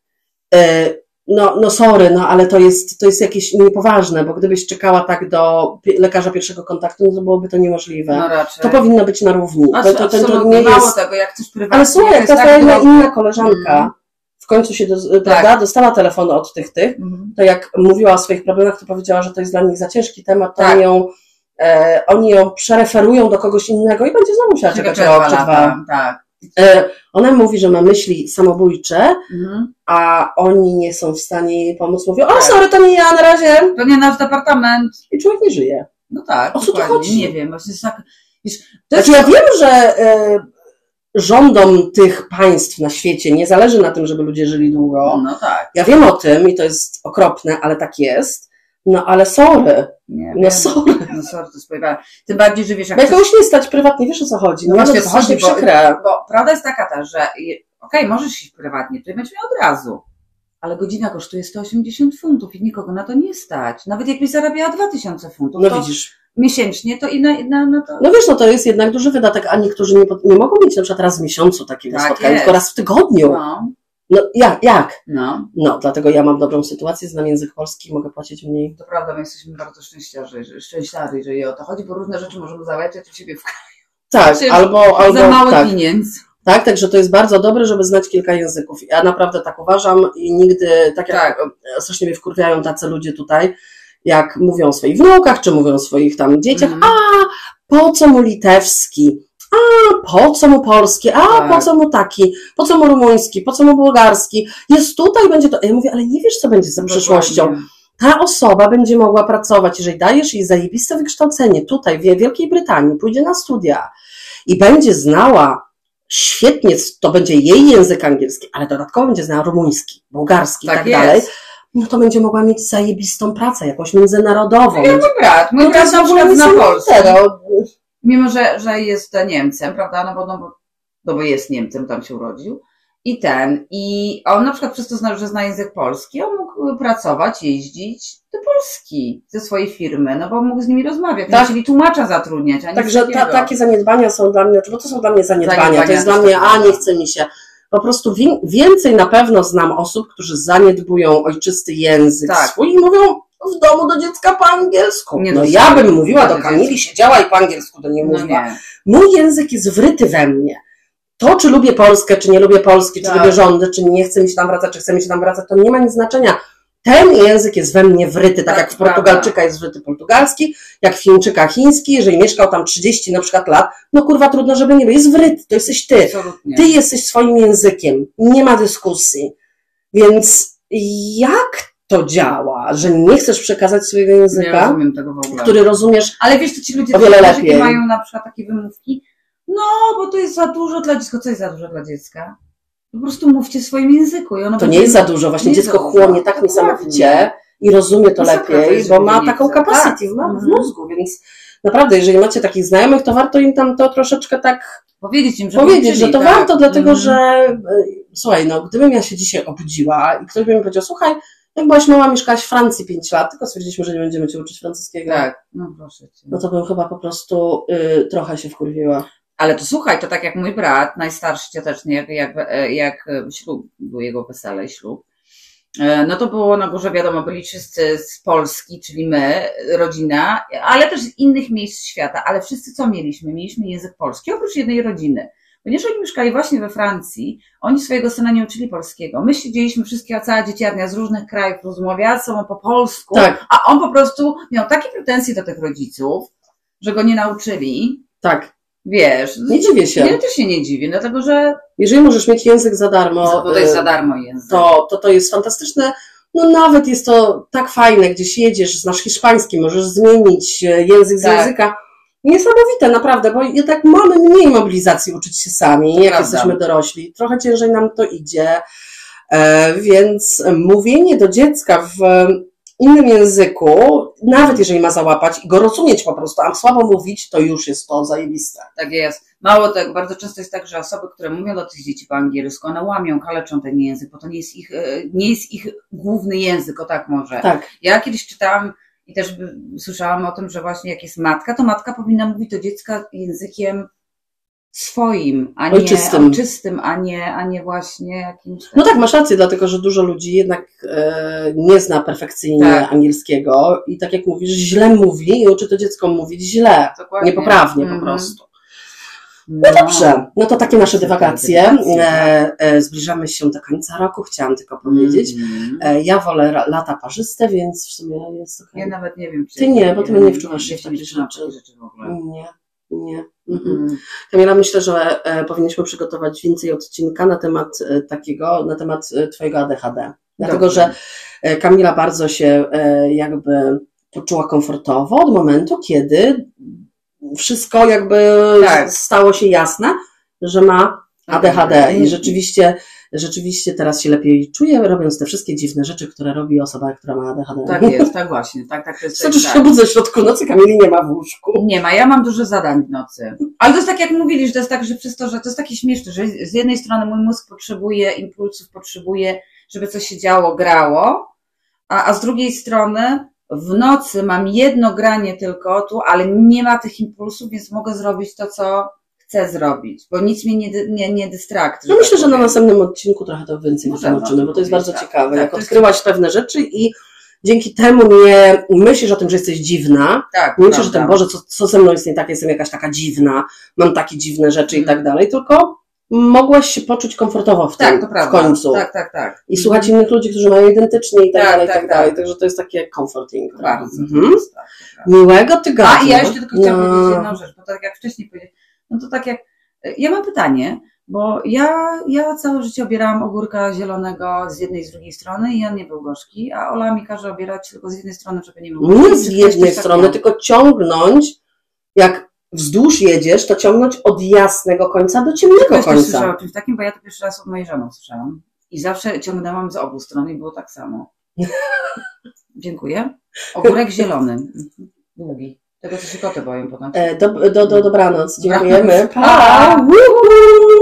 S2: E, no, no sorry, no ale to jest, to jest jakieś niepoważne, bo gdybyś czekała tak do pi- lekarza pierwszego kontaktu, no to byłoby to niemożliwe.
S1: no raczej.
S2: to powinno być na równi.
S1: A,
S2: To, to, to, to nie
S1: mało
S2: jest...
S1: tego, jak chcesz prywatnie.
S2: Ale słuchaj,
S1: to
S2: jak
S1: jest
S2: ta
S1: tak
S2: twoja
S1: drogo.
S2: inna koleżanka
S1: Mhm. Tak.
S2: w końcu się do, prawda, dostała telefon od tych tych,
S1: Mhm.
S2: to jak mówiła o swoich problemach, to powiedziała, że to jest dla nich za ciężki temat, to
S1: Tak.
S2: oni, ją, e, oni ją przereferują do kogoś innego i będzie znowu musiała czekać
S1: Czeka
S2: rok czy
S1: lata,
S2: dwa.
S1: Tak.
S2: E, ona mówi, że ma myśli samobójcze,
S1: Mhm.
S2: a oni nie są w stanie jej pomóc. Mówią, o
S1: Tak.
S2: sorry, to nie ja na razie.
S1: To nie nasz departament.
S2: I człowiek nie żyje.
S1: No tak,
S2: O co tu
S1: dokładnie.
S2: chodzi?
S1: Nie wiem, właśnie jest tak... Wiesz, to jest...
S2: Znaczy ja wiem, że y, rządom tych państw na świecie nie zależy na tym, żeby ludzie żyli długo.
S1: No tak.
S2: Ja wiem o tym i to jest okropne, ale tak jest. No ale sorry,
S1: Nie
S2: no
S1: wiem.
S2: sorry.
S1: No sorry, to spojrzałem. Tym bardziej, że wiesz, jak
S2: Jak kogoś nie stać prywatnie, wiesz o co chodzi. No,
S1: No
S2: no
S1: właśnie
S2: to
S1: o
S2: jest
S1: to chodzi,
S2: chodzi,
S1: bo-
S2: przykre.
S1: Bo prawda jest taka ta, że je- okej, możesz iść prywatnie, to będziemy od razu. Ale godzina kosztuje 180 funtów i nikogo na to nie stać. Nawet jakbyś zarabiała 2000 funtów
S2: No
S1: to
S2: widzisz.
S1: miesięcznie, to i na, na, na to...
S2: No wiesz, no to jest jednak duży wydatek, a niektórzy nie, pod- nie mogą mieć na przykład raz w miesiącu takiego
S1: Tak
S2: spotkania,
S1: jest.
S2: tylko raz w tygodniu.
S1: No,
S2: No jak, jak?
S1: no.
S2: No, dlatego ja mam dobrą sytuację, znam język polski, mogę płacić mniej.
S1: To prawda, my jesteśmy bardzo szczęściarzy, że- szczęśliwi, jeżeli o to chodzi, bo różne rzeczy możemy załatwiać u siebie w
S2: Tak,
S1: Znaczy,
S2: albo, albo
S1: za mało
S2: tak,
S1: pieniędzy.
S2: tak, także to jest bardzo dobre, żeby znać kilka języków. Ja naprawdę tak uważam i nigdy, tak jak
S1: Tak.
S2: e, strasznie mnie wkurwiają tacy ludzie tutaj, jak mówią o swoich wnukach, czy mówią o swoich tam dzieciach,
S1: Mhm.
S2: a po co mu litewski, a po co mu polski, a
S1: Tak.
S2: po co mu taki, po co mu rumuński, po co mu bułgarski, jest tutaj, będzie to, ja mówię, ale nie wiesz co będzie za przyszłością,
S1: Dokładnie.
S2: ta osoba będzie mogła pracować, jeżeli dajesz jej zajebiste wykształcenie tutaj, w Wielkiej Brytanii, pójdzie na studia i będzie znała świetnie, to będzie jej język angielski, ale dodatkowo będzie znała rumuński, bułgarski i tak
S1: jest.
S2: dalej, no to będzie mogła mieć zajebistą pracę, jakąś międzynarodową.
S1: No, mój brat, mój
S2: No to
S1: brat
S2: jest
S1: na
S2: w ogóle
S1: przykład zna Polskę.
S2: niesamowite, no.
S1: Mimo, że, że jest Niemcem, prawda, no bo, no, bo, no bo jest Niemcem, tam się urodził. I ten, i on na przykład przez to, zna, że zna język polski, on mógł y, pracować, jeździć do Polski ze swojej firmy, no bo mógł z nimi rozmawiać,
S2: Tak.
S1: tak. musieli tłumacza zatrudniać, ani
S2: Także ta,
S1: takiego.
S2: takie zaniedbania są dla mnie, bo to są dla mnie zaniedbania,
S1: Zaniedbania
S2: to jest
S1: to
S2: dla
S1: jest
S2: mnie, a
S1: tak.
S2: nie chce mi się. Po prostu wi- więcej na pewno znam osób, którzy zaniedbują ojczysty język
S1: Tak.
S2: swój i mówią w domu do dziecka po angielsku.
S1: Nie,
S2: no
S1: to
S2: ja
S1: jest-
S2: bym mówiła
S1: to
S2: do
S1: jest-
S2: Kamili, siedziała i po angielsku do niej
S1: No
S2: mówiła.
S1: nie.
S2: Mój język jest wryty we mnie. To, czy lubię Polskę, czy nie lubię Polski, czy
S1: Tak.
S2: lubię rządy, czy nie chcę mi się tam wracać, czy chcę mi się tam wracać, to nie ma nic znaczenia. ten język jest we mnie wryty, tak
S1: Tak,
S2: jak w Portugalczyka jest wryty portugalski, jak w Chińczyka chiński, jeżeli mieszkał tam 30 na przykład lat, no kurwa trudno, żeby nie był, jest wryty, to jesteś ty.
S1: Absolutnie.
S2: Ty jesteś swoim językiem, nie ma dyskusji. Więc jak to działa, że nie chcesz przekazać swojego
S1: nie
S2: języka,
S1: rozumiem tego w ogóle.
S2: który rozumiesz
S1: Ale wiesz, to ci ludzie
S2: O wiele
S1: też
S2: lepiej.
S1: mają na przykład takie wymówki. No, bo to jest za dużo dla dziecka. Co jest za dużo dla dziecka? Po prostu mówcie w swoim języku. I ono
S2: To
S1: będzie-
S2: nie jest za dużo, właśnie
S1: Nie
S2: dziecko
S1: za dużo.
S2: chłonie tak
S1: Dokładnie. No
S2: niesamowicie i rozumie to
S1: Masakra to
S2: lepiej,
S1: jest,
S2: bo
S1: żeby
S2: ma
S1: nie
S2: taką
S1: chce.
S2: capacity w, ma- w
S1: Mhm.
S2: mózgu, więc naprawdę, jeżeli macie takich znajomych, to warto im tam to troszeczkę tak
S1: Powiedzieć im, że
S2: powiedzieć, że to warto, dlatego
S1: Mhm.
S2: że e, słuchaj, no gdybym ja się dzisiaj obudziła i ktoś by mi powiedział, słuchaj, jak byłaś mała, mieszkałaś w Francji 5 lat, tylko stwierdziliśmy, że nie będziemy cię uczyć francuskiego,
S1: Tak, no proszę cię.
S2: no to bym chyba po prostu y, trochę się wkurwiła.
S1: Ale to słuchaj, to tak jak mój brat, najstarszy cioteczny, jak, jak, e, jak e, ślub, był jego wesele, ślub. e, No to było na górze, wiadomo, byli wszyscy z Polski, czyli my, rodzina, ale też z innych miejsc świata, ale wszyscy co mieliśmy? Mieliśmy język polski, oprócz jednej rodziny. Ponieważ oni mieszkali właśnie we Francji, oni swojego syna nie uczyli polskiego. My siedzieliśmy wszystkie, cała dzieciarnia z różnych krajów rozmawiała ze sobą po polsku,
S2: Tak,
S1: a on po prostu miał takie pretensje do tych rodziców, że go nie nauczyli,
S2: tak,
S1: Wiesz,
S2: nie dziwię
S1: ja
S2: się.
S1: też się nie dziwię, dlatego że
S2: Jeżeli możesz mieć język za darmo,
S1: bo to jest
S2: y,
S1: za darmo język.
S2: to, to, to jest fantastyczne. No nawet jest to tak fajne, gdzieś jedziesz, znasz hiszpański, możesz zmienić e, język z
S1: Tak.
S2: języka. Niesamowite, naprawdę, bo jednak mamy mniej mobilizacji uczyć się sami, jak
S1: Prawda.
S2: jesteśmy dorośli. Trochę ciężej nam to idzie. E, Więc mówienie do dziecka w innym języku, nawet jeżeli ma załapać i go rozumieć po prostu, a słabo mówić, to już jest to zajebiste.
S1: Tak jest. Mało tego, bardzo często jest tak, że osoby, które mówią do tych dzieci po angielsku, one łamią, kaleczą ten język, bo to nie jest ich, e, nie jest ich główny język, o tak może.
S2: Tak,
S1: Ja kiedyś czytałam i też by- słyszałam o tym, że właśnie jak jest matka, to matka powinna mówić do dziecka językiem swoim, a nie
S2: Ojczystym.
S1: ojczystym a nie, a nie właśnie jakimś
S2: No tak, masz rację, dlatego że dużo ludzi jednak e, nie zna perfekcyjnie
S1: Tak.
S2: angielskiego i tak jak mówisz, źle mówi i uczy to dziecko mówić źle,
S1: dokładnie.
S2: niepoprawnie
S1: Mhm.
S2: po prostu. No dobrze, no to takie nasze dywagacje.
S1: Dywagacje,
S2: E, e, zbliżamy się do końca roku, chciałam tylko powiedzieć.
S1: Mhm.
S2: E, ja wolę ra- lata parzyste, więc w sumie jest okej.
S1: Ja nawet nie wiem, czy.
S2: Ty nie, bo ty nie wczuwasz się w
S1: Ja
S2: takie
S1: nie wczuwam
S2: rzeczy.
S1: w ogóle.
S2: Nie, nie. Mhm.
S1: Mhm.
S2: Kamila, myślę, że e, powinniśmy przygotować więcej odcinka na temat e, takiego, na temat e, Twojego ADHD. Dlatego,
S1: Dobrze.
S2: że E, Kamila bardzo się e, jakby poczuła komfortowo od momentu, kiedy wszystko jakby
S1: Tak.
S2: s- stało się jasne, że ma
S1: Mhm.
S2: ADHD i rzeczywiście, rzeczywiście teraz się lepiej czuje, robiąc te wszystkie dziwne rzeczy, które robi osoba, która ma ADHD.
S1: Tak jest, tak właśnie, tak, tak to jest.
S2: Znaczy, się
S1: tak.
S2: budzę w środku nocy, Kamili nie ma w łóżku.
S1: Nie ma, ja mam dużo zadań w nocy. Ale to jest tak, jak mówili, że to jest tak, że przez to, że to jest takie śmieszne, że z jednej strony mój mózg potrzebuje impulsów, potrzebuje, żeby coś się działo, grało, a, a z drugiej strony w nocy mam jedno granie tylko tu, ale nie ma tych impulsów, więc mogę zrobić to, co chcę zrobić, bo nic mnie nie, dy- nie, nie dystraktuje. tak
S2: No myślę, że na następnym odcinku trochę to więcej
S1: Możemy
S2: wytłumaczymy, bo to jest bardzo
S1: powiedzieć, tak.
S2: ciekawe,
S1: Tak,
S2: jak
S1: to jest-
S2: odkryłaś pewne rzeczy i dzięki temu nie myślisz o tym, że jesteś dziwna,
S1: Tak,
S2: Nie myślę, że
S1: prawda.
S2: ten Boże, co, co ze mną jest nie tak, jestem jakaś taka dziwna, mam takie dziwne rzeczy i tak dalej, tylko mogłaś się poczuć komfortowo w tym
S1: Mhm. Tak, to
S2: w
S1: prawda.
S2: końcu.
S1: Tak, tak, tak.
S2: I słuchać innych ludzi, którzy mają identycznie i tak,
S1: Tak,
S2: dalej, i tak,
S1: tak,
S2: dalej.
S1: tak.
S2: Także to jest takie comforting.
S1: Bardzo.
S2: Mhm.
S1: Tak, tak.
S2: Miłego tygodnia.
S1: A i ja jeszcze tylko chciałam
S2: No.
S1: powiedzieć jedną rzecz, bo tak jak wcześniej powiedziałam, no to tak jak, ja mam pytanie, bo ja, ja całe życie obierałam ogórka zielonego z jednej i z drugiej strony i on nie był gorzki, a Ola mi każe obierać tylko z jednej strony, żeby nie był gorzki.
S2: Nie z
S1: Czy ktoś
S2: jednej
S1: też tak
S2: strony,
S1: miał?
S2: tylko ciągnąć, jak wzdłuż jedziesz, to ciągnąć od jasnego końca do ciemnego
S1: Ktoś też
S2: końca.
S1: słyszał o czymś takim, bo tak ja to pierwszy raz od mojej żony słyszałam i zawsze ciągnęłam z obu stron i było tak samo. Dziękuję. Ogórek zielony, Mhm. długi, tego co się koty boją potem.
S2: E, Do, do, do, dobranoc.
S1: Dobranoc.
S2: Dziękujemy.
S1: Pa.
S2: Woo!